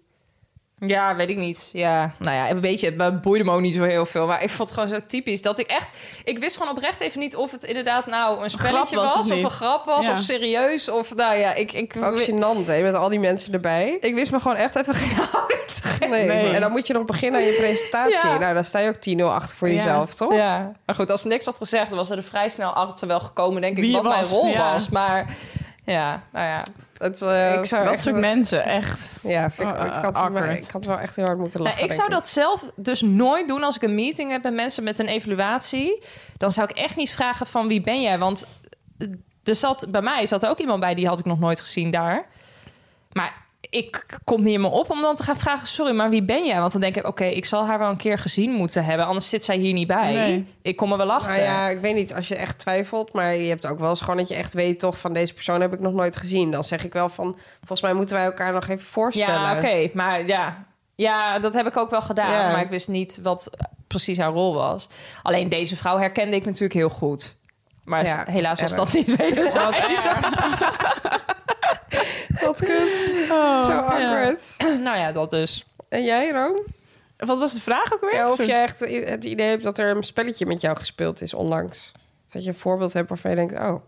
S3: Ja, weet ik niet. Ja, nou ja, een beetje, het boeide me ook niet zo heel veel. Maar ik vond het gewoon zo typisch dat ik echt... Ik wist gewoon oprecht even niet of het inderdaad nou een spelletje
S5: was
S3: was,
S5: of
S3: of
S5: niet.
S3: een grap was,
S5: Ja.
S3: of serieus, of nou ja, ik... ik
S4: Ook gênant hè, met al die mensen erbij.
S3: ik wist me gewoon echt even geen [laughs] houding te geven.
S4: Nee.
S5: Nee.
S4: En dan moet je nog beginnen aan je presentatie.
S3: Ja.
S4: Nou, dan sta je ook 10-0 achter voor
S5: Ja.
S4: jezelf, toch?
S3: Ja. Maar goed, als ze niks had gezegd, dan was er vrij snel achter wel gekomen, denk ik,
S5: Wie je
S3: wat mijn
S5: was,
S3: rol
S5: ja.
S3: was. Maar ja, nou ja.
S4: Het, eh,
S5: Ik zou dat soort mensen, echt.
S4: Ja, vind ik,
S5: Oh,
S4: ik, had,
S5: awkward.
S4: ik had wel echt heel hard moeten
S3: Nou,
S4: lachen.
S3: ik zou
S4: denk
S3: dat zelf dus nooit doen als ik een meeting heb met mensen met een evaluatie. Dan zou ik echt niet vragen van wie ben jij? Want eh, er zat, bij mij zat er ook iemand bij, die had ik nog nooit gezien daar. Maar ik kom niet in me op om dan te gaan vragen, sorry, maar wie ben jij? Want dan denk ik, oké, ik zal haar wel een keer gezien moeten hebben. Anders zit zij hier niet bij.
S5: Nee.
S3: Ik kom er wel achter.
S4: Nou ja, ik weet niet, als je echt twijfelt, maar je hebt ook wel eens gewoon dat je echt weet toch van deze persoon heb ik nog nooit gezien. Dan zeg ik wel van, volgens mij moeten wij elkaar nog even voorstellen.
S3: Ja, oké, maar ja. Ja, dat heb ik ook wel gedaan,
S4: Ja.
S3: maar ik wist niet wat eh, precies haar rol was. Alleen deze vrouw herkende ik natuurlijk heel goed. Maar
S4: Ja,
S3: helaas
S4: wat
S3: was dat niet wederzijds. [laughs]
S4: Wat kut. [laughs] Zo awkward.
S3: nou ja, dat dus.
S4: En jij, Room?
S5: Wat was de vraag ook weer?
S4: Ja, of jij echt het idee hebt dat er een spelletje met jou gespeeld is onlangs. Dat je een voorbeeld hebt waarvan je denkt, oh,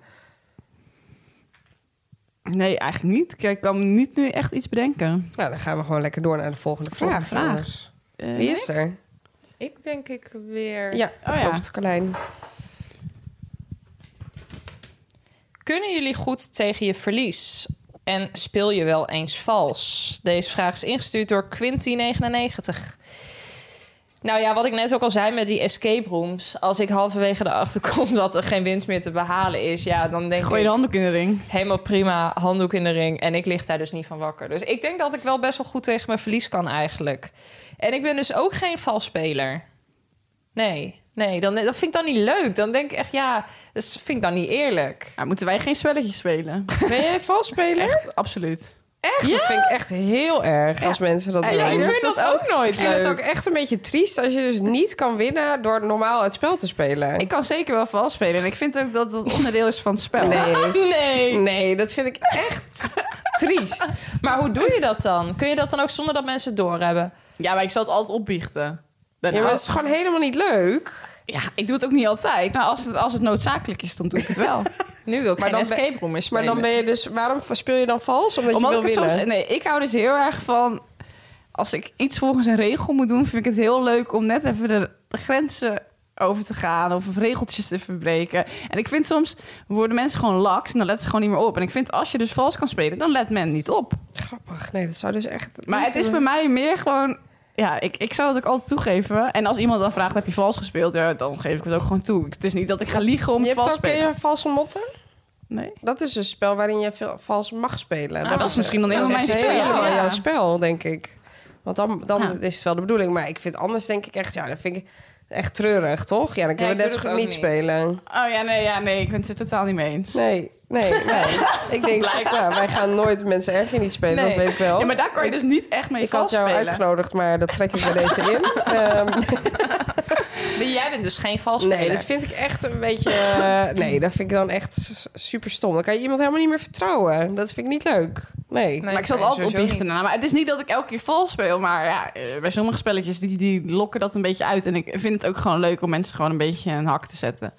S5: Nee, eigenlijk niet. Kijk, ik kan niet nu echt iets bedenken.
S4: nou dan gaan we gewoon lekker door naar de volgende
S5: Volgende
S4: vraag.
S5: vraag.
S4: jongens.
S5: Eh,
S4: Wie is er?
S3: Ik denk ik weer.
S4: Ja,
S5: Oh ja.
S4: klopt, Carlijn.
S3: Kunnen jullie goed tegen je verlies? En speel je wel eens vals? Deze vraag is ingestuurd door Quinty99. Nou ja, wat ik net ook al zei met die escape rooms. Als ik halverwege erachter [laughs] kom dat er geen winst meer te behalen is, ja, dan denk
S5: Gooi
S3: ik
S5: je handdoek in de ring.
S3: helemaal prima, handdoek in de ring. En ik lig daar dus niet van wakker. Dus ik denk dat ik wel best wel goed tegen mijn verlies kan eigenlijk. En ik ben dus ook geen valspeler. Nee, nee, dan, dat vind ik dan niet leuk. Dan denk ik echt, ja, dat vind ik dan niet eerlijk.
S4: [laughs]
S5: Nou, moeten wij geen spelletjes spelen?
S4: Ben jij valsspeler?
S5: Echt, absoluut.
S4: Echt? Dat vind ik echt heel erg als mensen dat doen.
S5: Ja, ik
S4: ik
S5: vind dat ook nooit
S4: vind het
S5: leuk.
S4: ook echt een beetje triest als je dus niet kan winnen door normaal het spel te spelen.
S5: Ik kan zeker wel vals spelen. En ik vind ook dat dat onderdeel is van het spel.
S4: Nee.
S3: [laughs] Nee.
S4: Nee, dat vind ik echt
S5: [laughs]
S4: triest.
S3: Maar hoe doe je dat dan? Kun je dat dan ook zonder dat mensen het doorhebben?
S5: Ja, maar ik zal het altijd opbiechten.
S4: Ja, maar dat is gewoon helemaal niet leuk.
S5: Ja, ik doe het ook niet altijd. Maar als het, als het noodzakelijk is, dan doe ik het
S4: [laughs]
S5: wel.
S3: Nu wil ik
S4: Maar
S3: geen
S4: dan ben-
S3: escape room meer spelen.
S4: Maar dan ben je dus... Waarom speel je dan vals? Omdat,
S5: Omdat
S4: je
S5: ik
S4: wil
S5: het
S4: winnen.
S5: soms... Nee, ik hou dus heel erg van... Als ik iets volgens een regel moet doen, vind ik het heel leuk om net even de grenzen over te gaan of regeltjes te verbreken. En ik vind soms worden mensen gewoon laks en dan letten ze gewoon niet meer op. En ik vind als je dus vals kan spelen, dan let men niet op.
S4: Grappig. Nee, dat zou dus echt...
S5: Maar
S4: niet
S5: het is
S4: zo-
S5: bij mij meer gewoon. Ja, ik, ik zou het ook altijd toegeven. En als iemand dan vraagt: heb je vals gespeeld? Ja, dan geef ik het ook gewoon toe. Het is niet dat ik ga liegen om
S4: Je
S5: het
S4: hebt
S5: vals te
S4: ook eh,
S5: spelen.
S4: een valse motten?
S5: Nee.
S4: Dat is een spel waarin je veel vals mag spelen.
S5: Ah, dat is misschien dan
S4: dat
S5: helemaal
S4: is
S5: mijn spel,
S4: helemaal
S5: ja.
S4: jouw spel, denk ik. Want dan, dan
S5: Ja.
S4: is het wel de bedoeling. Maar ik vind anders denk ik echt... Ja, dat vind ik echt treurig, toch? Ja, dan kunnen
S3: ik
S4: we
S3: doe
S4: net zo
S3: dat
S4: goed niet
S3: ook niet.
S4: spelen.
S5: Oh ja, nee, ja, nee. Ik ben het er totaal niet mee eens.
S4: Nee, nee,
S5: [laughs]
S4: nee. ik denk, ja, wij gaan nooit mensen erger niet spelen. Dat
S5: Nee.
S4: weet ik wel.
S5: Ja, maar daar kan je dus niet echt mee
S4: ik had
S5: vals
S4: jou
S5: spelen.
S4: uitgenodigd, maar dat trek ik
S5: [laughs]
S4: bij deze in. Ehm,
S3: Maar Jij bent dus geen vals
S4: nee,
S3: speler.
S4: dat vind ik echt een beetje... eh, nee, dat vind ik dan echt super stom. Dan kan je iemand helemaal niet meer vertrouwen. Dat vind ik niet leuk. Nee.
S3: Nee,
S5: maar ik zal het
S3: nee,
S5: altijd
S3: sowieso
S5: opbiechten.
S3: niet.
S5: daarna. Maar het is niet dat ik elke keer vals speel. Maar ja, eh, bij sommige spelletjes die, die lokken dat een beetje uit. En ik vind het ook gewoon leuk om mensen gewoon een beetje een hak te zetten.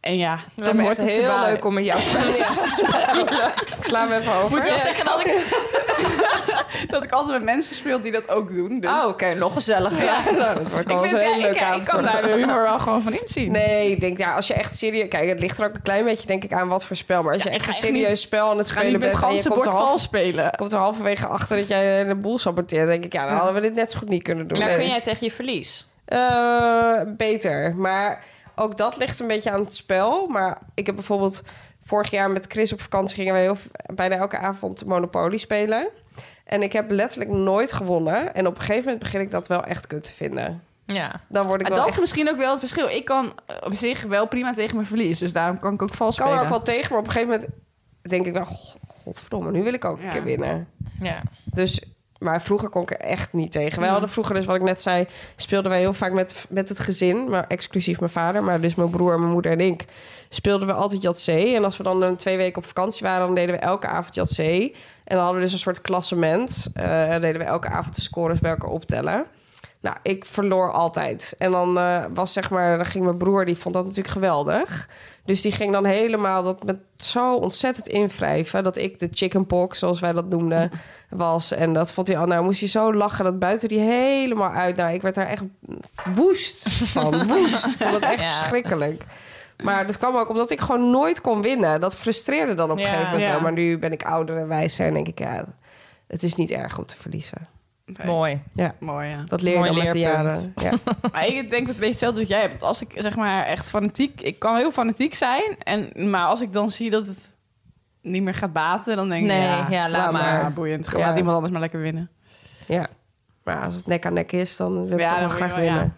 S5: En ja,
S3: Dan
S5: dan
S3: wordt
S5: wordt
S3: het
S5: te
S3: heel
S5: balen.
S3: leuk om met jou te spelen.
S4: Ik sla hem even over.
S3: Moet wel zeggen dat ik...
S5: dat ik altijd met mensen speel die dat ook doen. Dus.
S3: Oh, oké, nog gezelliger.
S5: Ja.
S4: [laughs] Nou, dat wordt
S5: Ik,
S4: wel
S5: vind,
S4: eens een
S5: ja,
S4: hele
S5: ik,
S4: leuke
S5: ja, ik
S4: avond
S5: kan
S4: worden.
S5: daar de humor wel gewoon van inzien.
S4: Nee, ik denk, ja, als je echt serieus... Kijk, het ligt er ook een klein beetje, denk ik, aan wat voor spel. Maar als je echt een serieus spel aan het
S5: ga niet
S4: spelen
S5: met
S4: bent...
S5: het
S4: en je
S5: ganse
S4: komt
S5: bord
S4: er, half,
S5: vals spelen.
S4: komt er halverwege achter dat jij de boel saboteert... denk ik, ja, dan hadden we dit net zo goed niet kunnen doen.
S5: Nou,
S3: Maar
S4: Nee.
S3: kun jij tegen je verlies?
S4: Eh, beter. Maar ook dat ligt een beetje aan het spel. Maar ik heb bijvoorbeeld vorig jaar met Chris op vakantie gingen we heel, bijna elke avond Monopoly spelen. En ik heb letterlijk nooit gewonnen. En op een gegeven moment begin ik dat wel echt kut te vinden.
S3: Ja.
S4: Dan word ik
S5: Maar
S4: wel
S5: dat
S4: echt...
S5: is misschien ook wel het verschil. Ik kan eh, op zich wel prima tegen mijn verlies. Dus daarom kan ik ook vals
S4: Ik kan er ook
S5: spelen.
S4: wel tegen, maar op een gegeven moment denk ik wel... "God- Godverdomme, nu wil ik ook een
S5: Ja.
S4: keer winnen.
S3: ja.
S4: Dus... Maar vroeger kon ik er echt niet tegen. Wij hadden vroeger, dus wat ik net zei, speelden wij heel vaak met, met het gezin. Maar exclusief mijn vader, maar dus mijn broer, mijn moeder en ik. Speelden we altijd Jatzee. En als we dan een twee weken op vakantie waren, dan deden we elke avond Jatzee. En dan hadden we dus een soort klassement. Eh, en deden we elke avond de scores bij elkaar optellen. Nou, ik verloor altijd. En dan eh, was zeg maar, dan ging mijn broer, die vond dat natuurlijk geweldig. Dus die ging dan helemaal dat met zo ontzettend invrijven. Dat ik de chickenpox, zoals wij dat noemden, was. En dat vond hij al. Nou, moest hij zo lachen. Dat buiten die helemaal uit. Nou, ik werd daar echt woest van. Woest. Ik vond het echt
S3: Ja.
S4: verschrikkelijk. Maar dat kwam ook omdat ik gewoon nooit kon winnen. Dat frustreerde dan op een
S3: Ja.
S4: gegeven moment
S5: Ja.
S4: wel. Maar nu ben ik ouder en wijzer. En denk ik, ja, het is niet erg om te verliezen.
S5: Nee.
S3: Mooi.
S5: Mooi, ja.
S4: Dat leer je
S3: Mooi
S4: dan met de
S3: leerpunt.
S4: jaren. Ja. [laughs]
S5: [laughs] Maar ik denk dat het een beetje hetzelfde als jij hebt. Als ik zeg maar echt fanatiek... Ik kan heel fanatiek zijn. En, maar als ik dan zie dat het niet meer gaat baten... dan denk ik,
S3: Nee,
S5: ja,
S3: ja, laat
S5: maar.
S3: maar.
S5: boeiend. Gewoon
S4: Ja.
S5: Laat iemand anders maar lekker winnen.
S4: Ja. Maar als het nek aan nek is, dan wil ik
S5: Ja,
S4: toch
S5: dan
S4: wel
S5: wil je
S4: graag
S5: wel, ja.
S4: winnen.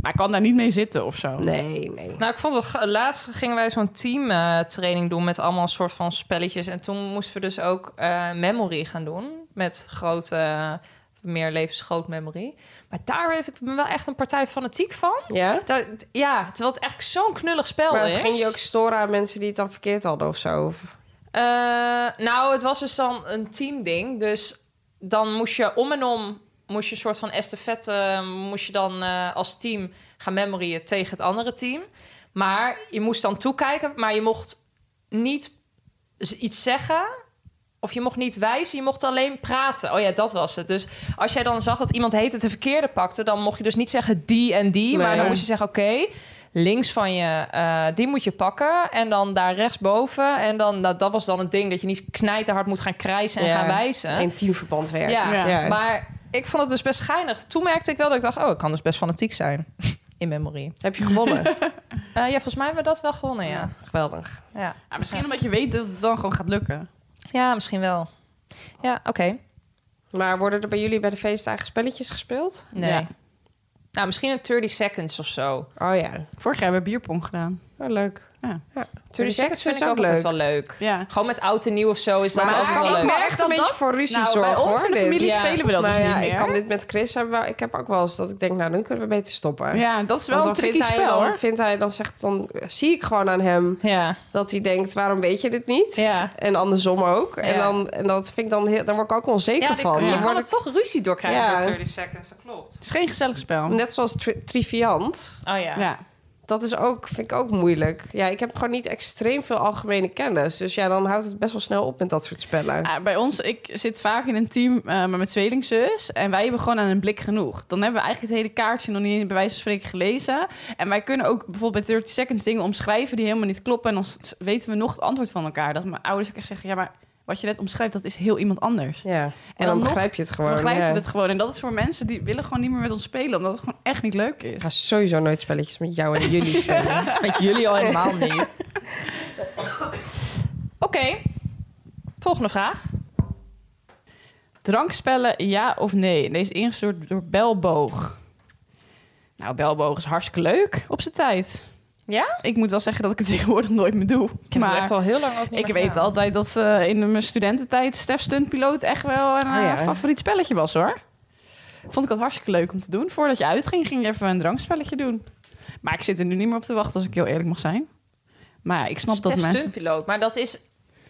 S5: Maar ik kan daar niet mee zitten of zo.
S4: Nee, nee.
S3: Nou, ik vond het wel ge- laatst gingen wij zo'n teamtraining doen met allemaal soort van spelletjes. En toen moesten we dus ook eh, memory gaan doen met grote, eh, meer levensgroot memory. Maar daar werd ik me wel echt een partij fanatiek van.
S4: Ja?
S3: Dat, ja, terwijl het eigenlijk zo'n knullig spel
S4: Maar
S3: is.
S4: ging je ook storen aan mensen die het dan verkeerd hadden of zo? Of-
S3: Eh, nou, het was dus dan een teamding. Dus dan moest je om en om... moest je een soort van estafette... moest je dan eh, als team gaan memoryen tegen het andere team. Maar je moest dan toekijken. Maar je mocht niet z- iets zeggen... Of je mocht niet wijzen, je mocht alleen praten. Oh ja, dat was het. Dus als jij dan zag dat iemand heet het de verkeerde pakte... dan mocht je dus niet zeggen die en die. Maar
S4: Nee.
S3: dan moest je zeggen, oké, links van je, eh, die moet je pakken. En dan daar rechtsboven. En dan, nou, dat was dan het ding, dat je niet knijterhard moet gaan krijsen en
S4: Ja,
S3: gaan wijzen.
S4: In teamverband werken.
S3: ja.
S5: Ja.
S3: maar ik vond het dus best geinig. Toen merkte ik wel dat ik dacht, oh, ik kan dus best fanatiek zijn. [laughs] In memory.
S4: Heb je gewonnen?
S3: Eh, ja, volgens mij hebben we dat wel gewonnen, [laughs] ja.
S4: Geweldig.
S3: Ja,
S5: Ja, misschien omdat je weet dat het dan gewoon gaat lukken.
S3: ja misschien wel. Ja, oké.
S4: Maar worden er bij jullie bij de feestdagen spelletjes gespeeld?
S3: Nee.
S5: Ja.
S3: Nou, misschien een 30 seconds of zo.
S4: Oh ja.
S5: Vorig jaar hebben we bierpong gedaan.
S4: Oh, leuk.
S5: Ja.
S4: Toen seks
S3: vind
S4: is
S3: ik ook
S4: ook
S3: altijd
S4: leuk.
S3: wel leuk.
S5: Ja.
S3: Gewoon met oud en nieuw of zo is dat
S4: Maar het
S3: altijd
S4: kan
S3: wel
S4: ook
S3: leuk.
S4: maar echt een beetje voor ruzie
S5: nou,
S4: zorgen,
S5: bij ons
S4: hoor,
S5: in de
S4: dit.
S5: familie
S3: Ja.
S5: spelen we dat
S4: maar
S5: dus
S4: ja,
S5: niet meer.
S4: ik kan dit met Chris hebben. wel- Ik heb ook wel eens dat ik denk, nou, nu kunnen we beter stoppen.
S5: Ja, dat is wel
S4: Want
S5: een
S4: dan
S5: tricky
S4: vindt, hij,
S5: spel,
S4: dan
S5: hoor.
S4: vindt hij, dan zegt, dan zie ik gewoon aan hem
S3: Ja.
S4: dat hij denkt, waarom weet je dit niet?
S3: Ja.
S4: En andersom ook. En,
S3: Ja.
S4: dan, en dat vind ik dan heel, daar word ik ook onzeker
S3: Ja,
S4: van.
S3: dan
S4: Dan
S3: kan
S4: word
S3: er toch ruzie door krijgen
S4: Ja.
S3: door 30 seconds, dat klopt.
S5: Het is geen gezellig spel.
S4: ik, net zoals tri- triviant,
S3: Oh ja.
S5: Ja.
S4: dat is ook, vind ik ook moeilijk. Ja, ik heb gewoon niet extreem veel algemene kennis. Dus ja, dan houdt het best wel snel op met dat soort spellen.
S5: Ah, bij ons, ik zit vaak in een team eh, maar met tweelingzus. En wij hebben gewoon aan een blik genoeg. Dan hebben we eigenlijk het hele kaartje nog niet bij wijze van spreken gelezen. En wij kunnen ook bijvoorbeeld bij 30 seconds dingen omschrijven die helemaal niet kloppen. En dan s- weten we nog het antwoord van elkaar. Dat mijn ouders ook echt zeggen, ja, maar wat je net omschrijft, dat is heel iemand anders.
S4: Ja, en dan,
S5: dan nog-
S4: begrijp je het
S5: Dan
S4: gewoon.
S5: begrijpen
S4: ja.
S5: we het gewoon. En dat is voor mensen die willen gewoon niet meer met ons spelen. Omdat het gewoon echt niet leuk is.
S4: Ik ga sowieso nooit spelletjes met
S3: [laughs]
S4: jou en jullie spelen.
S3: Met jullie al helemaal niet. Oké. Volgende vraag.
S5: Drankspellen, ja of nee? Deze is ingestuurd door Belboog. Nou, Belboog is hartstikke leuk op zijn tijd.
S3: Ja?
S5: Ik moet wel zeggen dat ik het [laughs] tegenwoordig nooit meer doe.
S3: Ik heb
S5: maar
S3: het echt al heel lang ook niet
S5: ik
S3: meer
S5: weet
S3: gedaan.
S5: altijd dat eh, in mijn studententijd Stef Stuntpiloot echt wel een eh,
S4: Ah, ja.
S5: favoriet spelletje was hoor. Vond ik dat hartstikke leuk om te doen. Voordat je uitging, ging je even een drankspelletje doen. Maar ik zit er nu niet meer op te wachten, als ik heel eerlijk mag zijn. Maar ja, ik snap
S3: Stef
S5: dat mensen...
S3: Stuntpiloot. Maar dat is,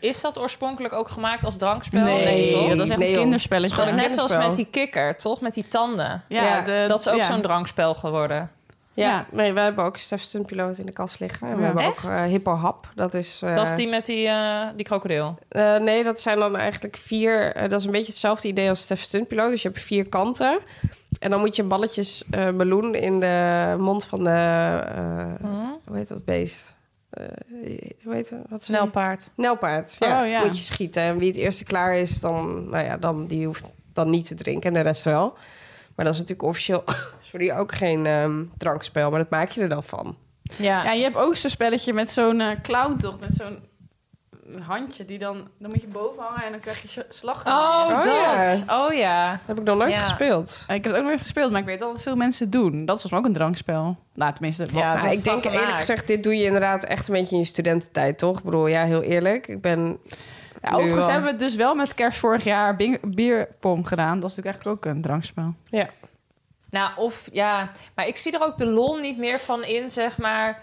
S3: is dat oorspronkelijk ook gemaakt als drankspel?
S5: Nee,
S3: toch?
S5: dat is echt
S4: Nee,
S5: een
S4: joh.
S5: kinderspelletje.
S3: Dat is net zoals
S4: Kinderspel.
S3: met die kikker, toch? Met die tanden.
S4: Ja,
S5: de-
S3: dat is ook
S5: ja.
S3: zo'n drankspel geworden.
S4: Ja,
S5: Ja.
S4: nee, we hebben ook Stef Stuntpiloot in de kast liggen. En we
S5: Ja.
S4: hebben
S3: Echt?
S4: ook eh, Hippo Hap. Dat is, eh,
S3: dat is die met die, eh, die krokodil.
S4: eh, nee, dat zijn dan eigenlijk vier... eh, dat is een beetje hetzelfde idee als Stef Stuntpiloot. Dus je hebt vier kanten. En dan moet je balletjes eh meloen in de mond van de... eh,
S3: Hm?
S4: Hoe heet dat beest? Eh, hoe heet dat? Wat is het?
S3: Snelpaard.
S4: Nelpaard. Ja.
S5: Oh, ja.
S4: Moet je schieten. En wie het eerste klaar is, dan, nou ja, dan, die hoeft dan niet te drinken. En de rest wel. Maar dat is natuurlijk officieel [laughs] sorry, ook geen ehm, drankspel. Maar dat maak je er dan van.
S3: Ja.
S5: Ja, je hebt ook zo'n spelletje met zo'n eh clown toch? Met zo'n handje die dan... Dan moet je boven hangen en dan krijg je sl- slag.
S3: Oh,
S4: Oh,
S3: dat.
S4: ja.
S3: Oh ja.
S4: Heb ik nog nooit
S3: Ja.
S4: gespeeld.
S5: Ik heb het ook nooit gespeeld, maar ik weet wel dat veel mensen het doen. Dat is volgens mij ook een drankspel. Nou, tenminste...
S3: Ja.
S5: Ja.
S4: Maar
S3: dat
S4: ik denk
S3: van
S4: eerlijk
S3: gemaakt.
S4: gezegd, dit doe je inderdaad echt een beetje in je studententijd, toch? Ik bedoel, ja, heel eerlijk. Ik ben... Nu
S5: overigens
S4: wel.
S5: hebben we het dus wel met kerst vorig jaar bing- bierpong gedaan. Dat is natuurlijk eigenlijk ook een drankspel.
S4: Ja.
S3: Nou, of ja. Maar ik zie er ook de lol niet meer van in, zeg maar.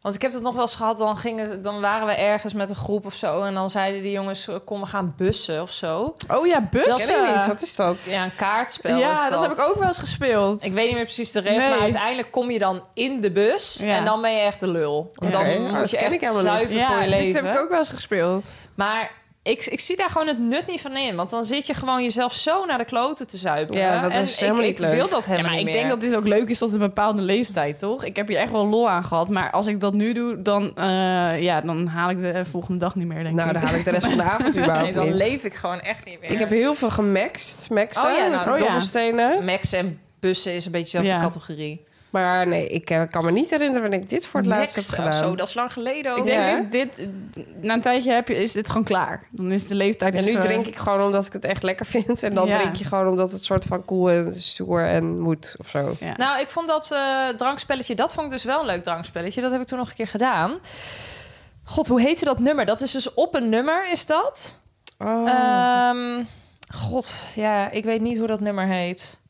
S3: Want ik heb dat nog wel eens gehad. Dan, gingen, dan waren we ergens met een groep of zo. En dan zeiden die jongens, "Eh, kom we gaan bussen of zo.
S5: Oh ja, bussen.
S3: Dat eh,
S4: Dat ken ik niet. Wat is dat?
S3: Ja, een kaartspel
S5: ja,
S3: is
S5: dat. heb ik ook wel eens gespeeld.
S3: Ik weet niet meer precies de regels,
S5: Nee.
S3: maar uiteindelijk kom je dan in de bus
S5: Ja.
S3: en dan ben je echt de lul. Want
S4: Oké,
S3: Dan
S4: maar
S3: moet
S4: dat
S3: je
S4: ken
S3: echt
S4: ik helemaal niet.
S3: zuiver voor
S5: ja,
S3: je
S5: dit
S3: leven.
S5: heb ik ook wel eens gespeeld.
S3: Maar ik, ik zie daar gewoon het nut niet van in, want dan zit je gewoon jezelf zo naar de kloten te zuipen.
S4: Ja, dat
S3: en
S4: is
S3: ik-
S4: helemaal
S3: ik,
S4: niet leuk.
S3: wil dat helemaal
S5: maar
S3: niet
S5: ik
S3: meer.
S5: denk dat dit ook leuk is tot een bepaalde leeftijd, toch? Ik heb hier echt wel lol aan gehad. Maar als ik dat nu doe, dan, eh, ja, dan haal ik de eh, volgende dag niet meer, denk
S4: Nou,
S5: ik.
S4: dan haal ik de rest van de avond überhaupt
S3: [laughs] Nee, dan
S4: niet.
S3: leef ik gewoon echt niet meer.
S4: Ik heb heel veel gemaxt. Maxen,
S3: Oh ja, nou,
S4: met die
S5: oh ja.
S4: dobbelstenen.
S3: Max en bussen is een beetje dezelfde
S5: Ja.
S3: categorie.
S4: Maar nee, ik eh, kan me niet herinneren wanneer ik dit voor het laatst heb
S3: Max,
S4: gedaan.
S3: Zo, dat is lang geleden ook.
S5: Ik
S4: Ja.
S5: denk, dat dit, na een tijdje heb je, is dit gewoon klaar. Dan is de leeftijd...
S4: En
S5: dus,
S4: nu
S5: eh,
S4: drink ik gewoon omdat ik het echt lekker vind. En dan
S5: Ja.
S4: drink je gewoon omdat het soort van cool en stoer en moet of zo.
S5: Ja.
S3: Nou, ik vond dat eh, drankspelletje, dat vond ik dus wel een leuk drankspelletje. Dat heb ik toen nog een keer gedaan. God, hoe heette dat nummer? Dat is dus op een nummer, is dat?
S4: Oh.
S3: Ehm, God, ja, ik weet niet hoe dat nummer heet.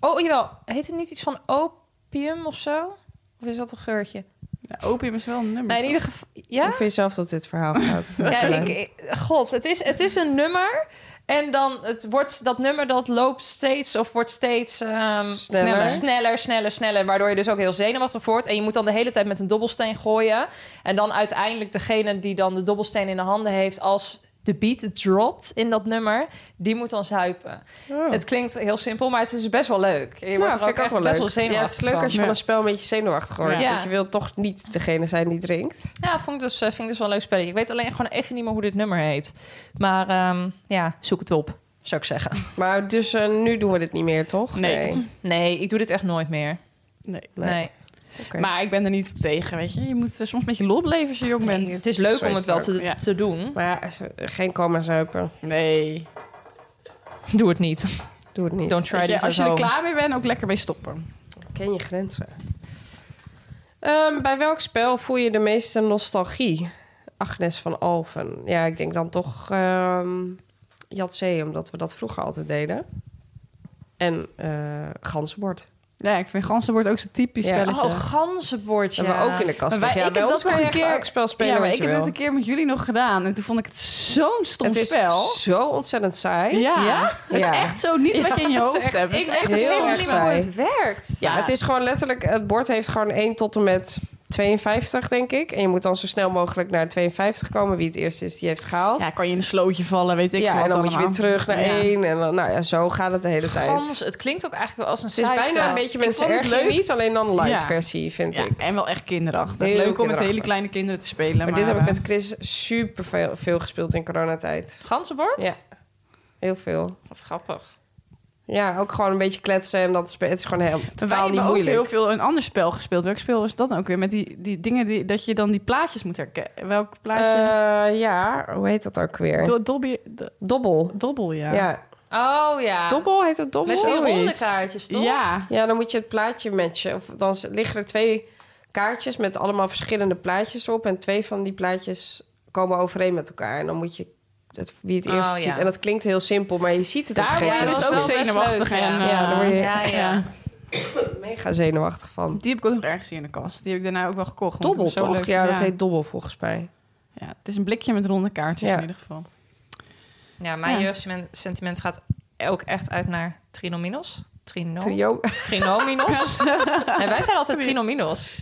S3: Oh, jawel. Heet het niet iets van opium of zo? Of is dat een geurtje?
S5: ja, opium is wel een nummer.
S3: Nee, in ieder geval... Ja?
S4: Hoe vind je zelf dat dit verhaal gaat?
S3: [laughs] Ja, ik, ik- God, het is, het is een nummer... En dan het wordt dat nummer dat loopt steeds of wordt steeds ehm,
S4: Sneller.
S3: sneller, sneller, sneller. Waardoor je dus ook heel zenuwachtig wordt. En je moet dan de hele tijd met een dobbelsteen gooien. En dan uiteindelijk degene die dan de dobbelsteen in de handen heeft als de beat dropt in dat nummer, die moet dan zuipen.
S4: Oh.
S3: Het klinkt heel simpel, maar het is dus best wel leuk. Je wordt
S4: Nou,
S3: er
S4: vind
S3: ook
S4: ik ook
S3: echt
S4: wel leuk.
S3: best wel zenuwachtig
S4: ja, het is leuk
S3: van.
S4: als je van
S5: Ja.
S4: een spel een beetje zenuwachtig wordt.
S3: Ja.
S4: Want je wilt toch niet degene zijn die drinkt.
S3: Ja, vond ik dus, eh, vind ik dus wel een leuk spelletje. Ik weet alleen gewoon even niet meer hoe dit nummer heet. Maar ehm, ja, zoek het op, zou ik zeggen.
S4: Maar dus eh, nu doen we dit niet meer, toch?
S5: Nee.
S3: [laughs] Nee, ik doe dit echt nooit meer.
S5: Nee.
S3: Nee.
S4: Nee. Oké.
S5: Maar ik ben er niet op tegen, weet je. Je moet eh, soms een beetje lol beleven als je jong
S3: Nee,
S5: bent.
S3: het is leuk
S4: Zo
S3: om
S4: is
S3: het
S4: het
S3: wel te,
S5: ook, ja.
S3: te doen.
S4: Maar ja, ze- geen coma zuipen.
S5: Nee.
S3: Doe het niet.
S4: Doe het niet.
S3: Don't try
S5: Weet je,
S3: this
S5: als je
S3: at
S5: er
S3: home.
S5: klaar mee bent, ook lekker mee stoppen.
S4: Ken je grenzen. Ehm, bij welk spel voel je de meeste nostalgie? Agnes van Alphen. Ja, ik denk dan toch ehm Jatzee, omdat we dat vroeger altijd deden. En eh ganzenbord.
S5: Ja, ik vind ganzenbord ook zo'n typisch
S4: Ja.
S5: spelletje.
S3: Oh, ganzenbordje.
S4: Dat hebben we ook in de kast.
S5: Maar wij-
S4: liggen. ja,
S5: ik
S4: bij
S5: heb
S4: ons
S5: dat
S4: kan je
S5: nog een
S4: echt
S5: keer-
S4: elk spel spelen
S5: ja, maar
S4: wat
S5: ik
S4: je
S5: heb dat
S4: wil.
S5: een keer met jullie nog gedaan. En toen vond ik het zo'n stom
S4: Het is
S5: spel.
S4: zo ontzettend saai.
S5: Ja.
S3: Ja?
S5: Het is
S4: Ja.
S5: echt zo niet wat je in je
S4: het is
S5: hoofd
S4: echt-
S5: hebt. Het
S3: Ik
S5: is
S3: echt
S5: echt
S4: heel
S5: zo
S3: heel
S4: erg
S3: niet meer hoe
S4: saai.
S3: het werkt.
S4: Ja, het is gewoon letterlijk... Het bord heeft gewoon 1 tot en met 52, denk ik. En je moet dan zo snel mogelijk naar 52 komen. Wie het eerst is, die heeft het gehaald.
S5: Ja, kan je in een slootje vallen, weet ik
S4: ja,
S5: veel
S4: en dan
S5: wat
S4: moet je weer
S5: allemaal.
S4: terug naar
S5: Ja.
S4: één. En dan, nou ja, zo gaat het de hele
S3: Gans,
S4: tijd.
S3: het klinkt ook eigenlijk als een
S4: Het is
S3: saai
S4: bijna
S3: spel.
S4: een beetje
S5: Ik
S4: mensen
S5: vond het
S4: erg je
S5: leuk.
S4: niet, alleen dan een light
S5: Ja.
S4: versie, vind
S5: Ja,
S4: ik.
S5: en wel echt
S4: Heel
S5: kinderachtig. Leuk om met
S4: kinderachtig.
S5: hele kleine kinderen te spelen. Maar,
S4: Maar dit heb ik
S5: eh,
S4: met Chris super veel, veel gespeeld in coronatijd.
S3: Ganzenbord?
S4: Ja, heel veel.
S3: Wat grappig.
S4: Ja, ook gewoon een beetje kletsen en dat spe- het is gewoon heel,
S5: wij
S4: totaal
S5: hebben
S4: niet
S5: ook
S4: moeilijk.
S5: heel veel een ander spel gespeeld. Welk spel was dat dan ook weer? Met die, die dingen die, dat je dan die plaatjes moet herkennen. Welk plaatje?
S4: Eh, ja, hoe heet dat ook weer?
S5: Do- Dobby- do-
S4: dobbel.
S5: dobbel, ja.
S4: Eh, Ja.
S3: Oh ja.
S4: dobbel heet het dobbel.
S3: Met die
S5: Zoiets.
S3: ronde kaartjes, toch?
S5: Ja.
S4: Ja, dan moet je het plaatje matchen. Of, dan z- liggen er twee kaartjes met allemaal verschillende plaatjes op. En twee van die plaatjes komen overeen met elkaar. En dan moet je het, wie het
S3: Oh,
S4: eerst
S3: ja.
S4: ziet. En dat klinkt heel simpel, maar je ziet het op een
S3: Daar
S4: gegeven
S3: ja,
S5: Ja,
S3: dat
S5: dus
S3: was
S5: ook
S3: wel best
S5: zenuwachtig.
S3: leuk,
S5: en,
S3: ja.
S5: eh,
S4: Ja, dan word je-
S3: Ja, ja.
S4: moment. Mega zenuwachtig van.
S5: Die heb ik ook nog ergens hier in de kast. Die heb ik daarna ook wel gekocht. want
S4: Dobbel
S5: het was zo
S4: toch?
S5: leuk.
S4: ja, dat heet dobbel volgens mij.
S5: Ja, het is een blikje met ronde kaartjes
S4: Ja.
S5: in ieder geval.
S3: Ja, mijn
S5: Ja.
S3: jeugdsentiment gaat ook echt uit naar trinominos. Trino,
S4: Trio. [laughs]
S3: trinominos. en wij zijn altijd trinominos.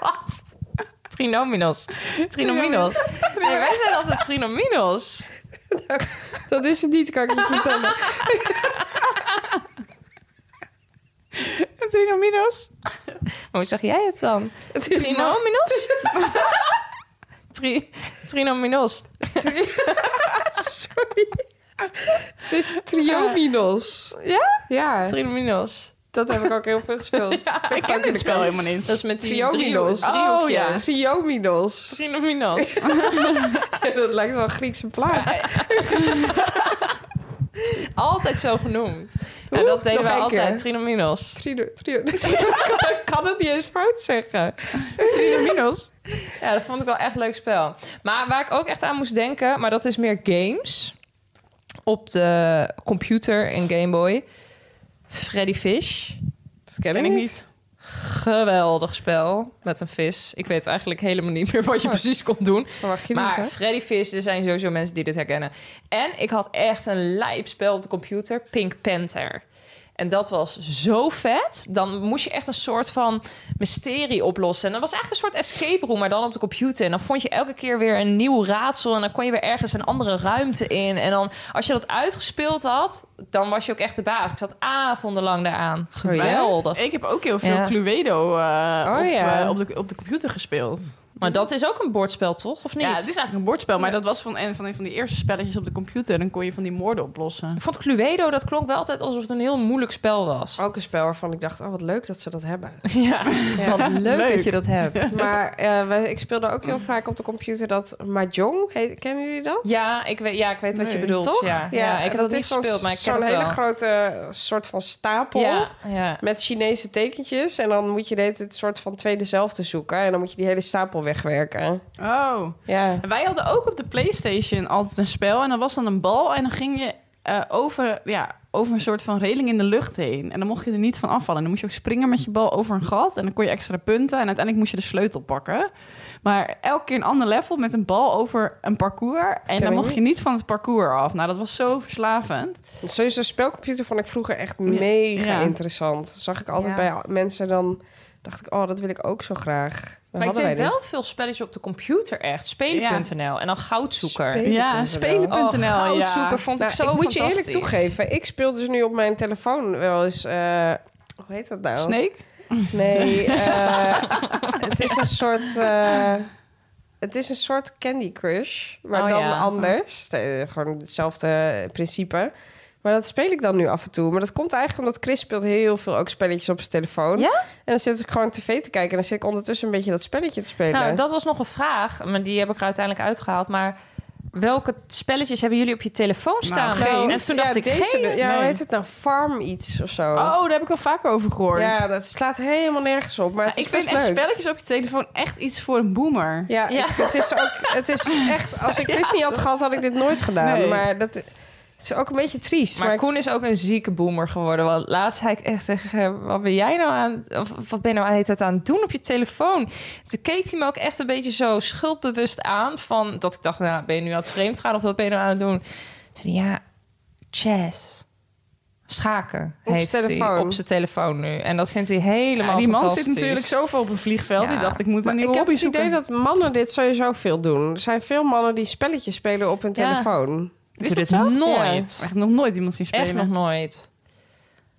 S3: Wat? Trinominos. Trinominos. Nee, wij zijn altijd trinominos.
S4: dat is het niet, kan ik je vertellen.
S3: [laughs]
S5: Trinominos?
S3: Maar hoe zeg jij het dan?
S4: Het nou- is
S3: Trinominos? Tri, trinominos.
S4: Sorry. Het is Triominos.
S3: Ja?
S4: Ja,
S3: Trinominos.
S4: dat heb ik ook heel veel
S3: [laughs]
S4: gespeeld.
S5: Ik ken dit spel helemaal niet.
S3: Dat is met die
S4: Trinominos.
S3: driehoek-
S5: Oh,
S3: driehoekjes.
S4: Triominos.
S3: Trinominos.
S4: [laughs] Dat lijkt wel een Griekse plaat.
S3: Altijd zo genoemd. En dat deden
S4: Nog
S3: we
S4: één
S3: altijd.
S4: keer.
S3: Trinominos.
S4: Trino, trio, ik kan het niet eens fout zeggen.
S5: Trinominos?
S3: Ja, dat vond ik wel echt een leuk spel. Maar waar ik ook echt aan moest denken, maar dat is meer games. Op de computer en Game Boy. Freddy Fish.
S4: Dat ken
S5: Ken ik niet.
S3: Geweldig spel met een vis. Ik weet eigenlijk helemaal niet meer
S4: Oh.
S3: wat je precies kon doen.
S4: Verwacht je
S3: Maar
S4: niet, hè?
S3: Freddy Fish, er zijn sowieso mensen die dit herkennen. En ik had echt een lijpspel op de computer, Pink Panther. En dat was zo vet. Dan moest je echt een soort van mysterie oplossen. En dat was eigenlijk een soort escape room, maar dan op de computer. En dan vond je elke keer weer een nieuw raadsel. En dan kon je weer ergens een andere ruimte in. En dan, als je dat uitgespeeld had, dan was je ook echt de baas. Ik zat avondenlang daaraan. Geweldig.
S5: Ik heb ook heel veel
S3: Ja.
S5: Cluedo eh, op,
S4: Oh, ja.
S5: eh, op, de, op de computer gespeeld.
S3: Maar dat is ook een bordspel, toch? Of niet?
S5: Ja, het is eigenlijk een bordspel, maar dat was van een van, een van die eerste spelletjes op de computer. Dan kon je van die moorden oplossen.
S3: Ik vond Cluedo, dat klonk wel altijd alsof het een heel moeilijk spel was.
S4: Ook een spel waarvan ik dacht, oh wat leuk dat ze dat hebben.
S3: Ja, wat leuk,
S5: Leuk.
S3: dat je dat hebt.
S4: [laughs] Maar eh, wij- ik speelde ook heel vaak op de computer dat Mahjong, he- kennen jullie dat?
S3: Ja, ik weet, ja, ik weet wat je
S5: Nee.
S3: bedoelt.
S4: Toch?
S3: Ja. Ja, ik heb dat niet
S4: is zo'n-
S3: gespeeld, maar ik ken
S4: Zo'n
S3: het
S4: hele
S3: wel.
S4: grote eh, soort van stapel
S3: Ja, ja.
S4: met Chinese tekentjes. En dan moet je dit soort van twee dezelfde zoeken. En dan moet je die hele stapel wegwerken.
S5: Oh.
S4: Ja.
S5: En wij hadden ook op de PlayStation altijd een spel. En dat was dan een bal. En dan ging je eh, over, ja, over een soort van reling in de lucht heen. En dan mocht je er niet van afvallen. En dan moest je ook springen met je bal over een gat. En dan kon je extra punten. En uiteindelijk moest je de sleutel pakken. Maar elke keer een ander level met een bal over een parcours. En
S4: ken
S5: dan
S4: ik
S5: mocht je
S4: niet.
S5: niet van het parcours af. Nou, dat was zo verslavend.
S4: Sowieso spelcomputer vond ik vroeger echt mega
S5: Ja.
S4: interessant. Zag ik altijd
S3: Ja.
S4: bij mensen dan... dacht ik, oh, dat wil ik ook zo graag. Dat
S3: Maar ik
S4: hadden
S3: deed
S4: wij niet.
S3: wel veel spelletjes op de computer echt. Spelen.nl en dan goudzoeker.
S4: Spelen.nl.
S5: Ja,
S4: Spelen.nl,
S5: spelen.nl.
S3: Oh,
S5: ja.
S3: goudzoeker vond
S4: Nou,
S3: ik zo
S4: ik moet je
S3: fantastisch.
S4: eerlijk toegeven. Ik speel dus nu op mijn telefoon wel eens... eh, hoe heet dat nou?
S5: Oh. Snake?
S3: [laughs]
S4: Nee, eh, het is een soort... eh, het is een soort Candy Crush, maar
S3: Oh,
S4: dan
S3: ja.
S4: anders. Eh, Gewoon hetzelfde principe. Maar dat speel ik dan nu af en toe. Maar dat komt eigenlijk omdat Chris speelt heel veel ook spelletjes op zijn telefoon.
S3: Ja?
S4: En dan zit ik gewoon tv te kijken en dan zit ik ondertussen een beetje dat spelletje te spelen.
S3: Nou, dat was nog een vraag, maar die heb ik er uiteindelijk uitgehaald. Maar welke spelletjes hebben jullie op je telefoon staan?
S5: geen.
S4: Nou,
S3: en toen
S4: ja,
S3: dacht ik,
S4: deze,
S3: geen.
S4: Ja, hoe
S5: nee.
S4: heet het nou? Farm iets of zo.
S5: Oh, daar heb ik wel vaker over gehoord.
S4: ja, dat slaat helemaal nergens op. Maar
S5: Ja,
S4: het is
S5: ik vind
S4: best
S5: echt
S4: leuk.
S5: spelletjes op je telefoon echt iets voor een boomer.
S4: Ja,
S3: Ja.
S4: ik- het is ook. Het is echt. Als ik Disney niet had gehad, had ik dit nooit gedaan.
S5: Nee.
S4: Maar dat is ook een beetje triest.
S3: Maar
S4: Maar,
S3: Koen is ook een zieke boomer geworden. Want laatst zei ik echt tegen hem... wat ben jij nou aan... of wat ben je nou aan het aan het doen op je telefoon? Toen keek hij me ook echt een beetje zo schuldbewust aan... van dat ik dacht, nou, ben je nu aan het vreemd gaan... of wat ben je nou aan het doen? Toen zei hij, ja, chess. Schaken
S4: Op
S3: heeft
S4: zijn telefoon.
S3: hij op zijn telefoon nu. En dat vindt hij helemaal
S5: Ja, die man
S3: fantastisch.
S5: zit natuurlijk zoveel op een vliegveld.
S3: Ja.
S5: Die dacht, ik moet
S4: maar
S5: een
S4: ik
S5: nieuwe
S4: heb
S5: hobby
S4: het
S5: zoeken.
S4: idee dat mannen dit sowieso veel doen. Er zijn veel mannen die spelletjes spelen op hun
S3: Ja.
S4: telefoon.
S3: Ik
S5: Is
S3: doe
S5: dat
S3: dit
S5: zo?
S3: nooit.
S5: Echt nog nooit iemand zien spelen.
S3: Echt nog nooit.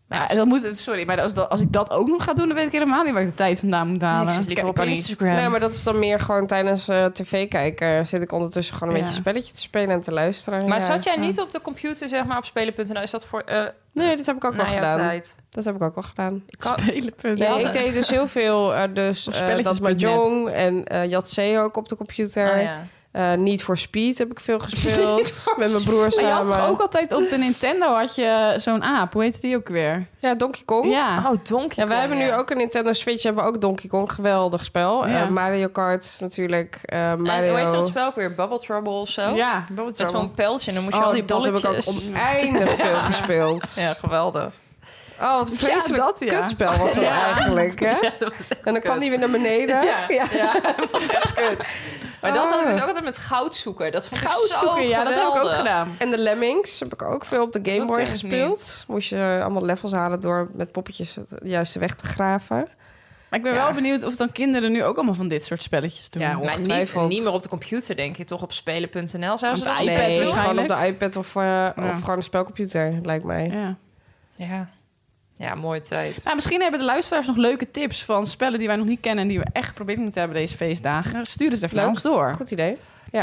S5: Ja, dat moet, het- sorry, maar als, dat- als ik dat ook nog ga doen, dan weet ik helemaal niet waar ik de tijd vandaan moet halen.
S3: Ik zit liever
S5: Kan-
S3: op
S5: kan niet.
S3: Instagram.
S4: Nee, maar dat is dan meer gewoon tijdens eh, tv kijken. Zit ik ondertussen gewoon een
S5: Ja.
S4: beetje spelletje te spelen en te luisteren.
S3: Maar
S4: Ja.
S3: zat jij niet op de computer, zeg maar, op spelen.nl? Is dat voor eh
S4: Nee, dat heb ik ook wel
S3: na jouw
S4: gedaan.
S3: tijd?
S4: Dat heb ik ook wel gedaan.
S3: Ik kan-
S5: Spelen, punt.
S4: Nee,
S3: had-
S4: ik deed dus heel veel. eh,
S3: [laughs]
S4: dus
S5: Op
S4: eh
S5: spelletjes
S4: dat
S5: punt net.
S4: Mahjong en eh Yatzee ook op de computer.
S3: Ah, ja.
S4: Eh, Need for Speed heb ik
S3: [laughs]
S4: veel gespeeld. met mijn broer
S5: Maar je had
S4: samen.
S5: toch ook altijd op de Nintendo had je zo'n aap. Hoe heet die ook weer?
S4: Ja, Donkey Kong.
S5: Ja.
S3: Oh, Donkey
S4: Ja, wij
S3: Kong,
S4: hebben nu
S3: ja.
S4: ook een Nintendo Switch. Hebben we ook Donkey Kong. Geweldig spel.
S5: Ja.
S4: Eh, Mario Kart natuurlijk. eh,
S3: En hoe heet
S4: Mario.
S3: dat spel ook weer? Bubble Trouble of zo?
S5: Ja,
S3: Dat is zo'n pijltje en dan moet je
S4: Oh,
S3: al die
S4: dat heb
S3: bolletjes...
S4: ik ook
S3: [laughs]
S4: oneindig veel gespeeld.
S3: Ja, geweldig.
S4: Oh, wat een vreselijk
S5: dat, ja.
S4: kutspel was
S3: [laughs]
S4: dat
S3: Ja.
S4: eigenlijk, hè?
S3: Ja, dat was echt
S4: En dan kwam
S3: kut.
S4: die weer Ah. naar beneden. Oh.
S3: Ja, ja. dat was echt kut. Maar dat had ik dus ook altijd met goud zoeken. Dat vond
S5: goud
S3: ik zo
S5: zoeken. Ja, dat heb ik ook
S3: geweldig.
S5: gedaan.
S4: En de Lemmings heb ik ook veel op de Game
S3: Dat
S4: Boy
S3: ken ik
S4: gespeeld. Moest je eh, allemaal levels halen door met poppetjes de juiste weg te graven.
S5: Maar ik ben
S4: Ja.
S5: wel benieuwd of dan kinderen nu ook allemaal van dit soort spelletjes doen.
S4: Ja,
S5: Want
S3: Maar niet,
S4: Ongetwijfeld.
S3: niet meer op de computer, denk ik. Toch op spelen.nl zou ze
S5: Op
S3: dat
S5: de iPad
S3: altijd
S4: nee,
S3: doen?
S5: waarschijnlijk.
S4: gewoon op de iPad of, eh, of gewoon een spelcomputer, lijkt mij.
S5: Ja.
S3: Ja. ja, mooie tijd.
S5: Nou, misschien hebben de luisteraars nog leuke tips van spellen die wij nog niet kennen... en die we echt geprobeerd moeten hebben deze feestdagen. Stuur het even
S4: Leuk.
S5: naar ons door.
S4: Goed idee.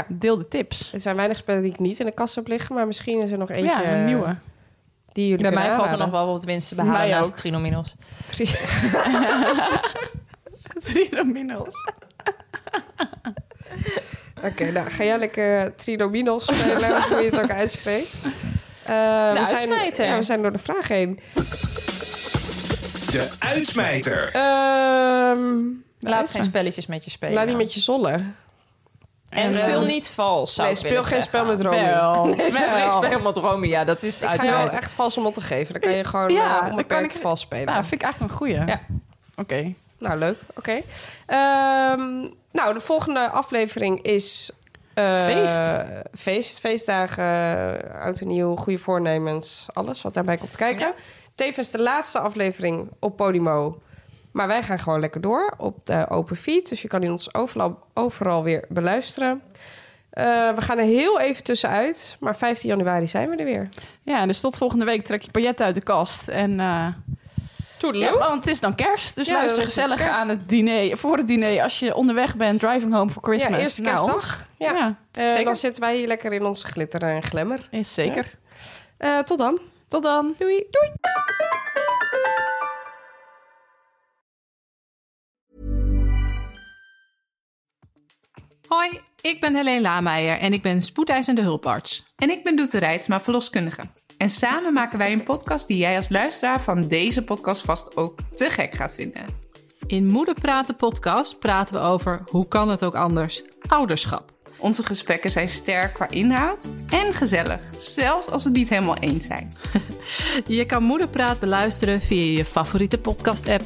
S5: Deel de tips.
S4: Er zijn weinig spellen die ik niet in de kast heb liggen, maar misschien is er nog eentje
S5: ja,
S4: [laughs]
S5: een nieuwe.
S4: die jullie
S3: Bij mij
S4: kunnen
S3: valt er nog
S4: aanraden.
S3: wel wat winst te behalen
S5: Mij
S3: naast
S5: ook.
S3: Trinominos.
S5: Trinominos.
S4: Oké, nou ga jij lekker Trinominos spelen, [laughs] hoe je het ook uitspreekt. Eh, we,
S3: uitsmijter.
S4: zijn, ja, we zijn door de vraag heen.
S1: De uitsmijter.
S4: Ehm,
S3: Laat geen spelletjes met je spelen.
S4: laat niet met je zollen.
S3: En
S4: Ja.
S3: speel niet vals, zou
S4: Nee,
S3: ik
S4: speel
S3: willen
S4: geen
S3: zeggen.
S4: spel met Romy. [laughs]
S5: Wel.
S3: Nee, speel geen
S5: Wel.
S3: spel met Romy, ja, dat is het
S4: Ik ga jou
S3: uiteraard.
S4: echt vals om op te geven. Dan kan je gewoon eh,
S5: Ja,
S4: ja,
S5: dan
S4: onbeperkt
S5: kan ik-
S4: vals spelen.
S5: Nou, vind ik eigenlijk een goeie.
S4: Ja.
S5: Oké.
S4: Nou, leuk. Oké. Ehm, nou, de volgende aflevering is... eh,
S5: Feest.
S4: Feest, feestdagen, eh, oud en nieuw, goede voornemens. Alles wat daarbij komt kijken. Tevens de laatste aflevering op Podimo. Maar wij gaan gewoon lekker door op de open feed. Dus je kan die ons overal, overal weer beluisteren. Eh, we gaan er heel even tussenuit. Maar 15 januari zijn we er weer.
S5: Ja, dus tot volgende week trek je pakket uit de kast. En, eh ja, want het is dan kerst, dus
S4: Ja,
S5: luister
S4: dan is het
S5: gezellig
S4: kerst.
S5: aan het diner, voor het diner. Als je onderweg bent, driving home for Christmas.
S4: Ja, eerste
S5: Nou,
S4: kerstdag. Ja.
S5: Ja,
S4: Eh,
S5: zeker.
S4: dan zitten wij hier lekker in onze glitter en glamour.
S5: is zeker.
S4: Eh, tot dan.
S5: Tot dan.
S4: Doei.
S6: Hoi, ik ben Helene Lameijer en ik ben spoedeisende hulparts.
S7: En ik ben Doete Reitsma, verloskundige. En samen maken wij een podcast die jij als luisteraar van deze podcast vast ook te gek gaat vinden.
S6: In Moeder Praten podcast praten we over hoe kan het ook anders? Ouderschap.
S7: Onze gesprekken zijn sterk qua inhoud en gezellig, zelfs als we het niet helemaal eens zijn.
S6: Je kan Moeder Praat beluisteren via je favoriete podcast app.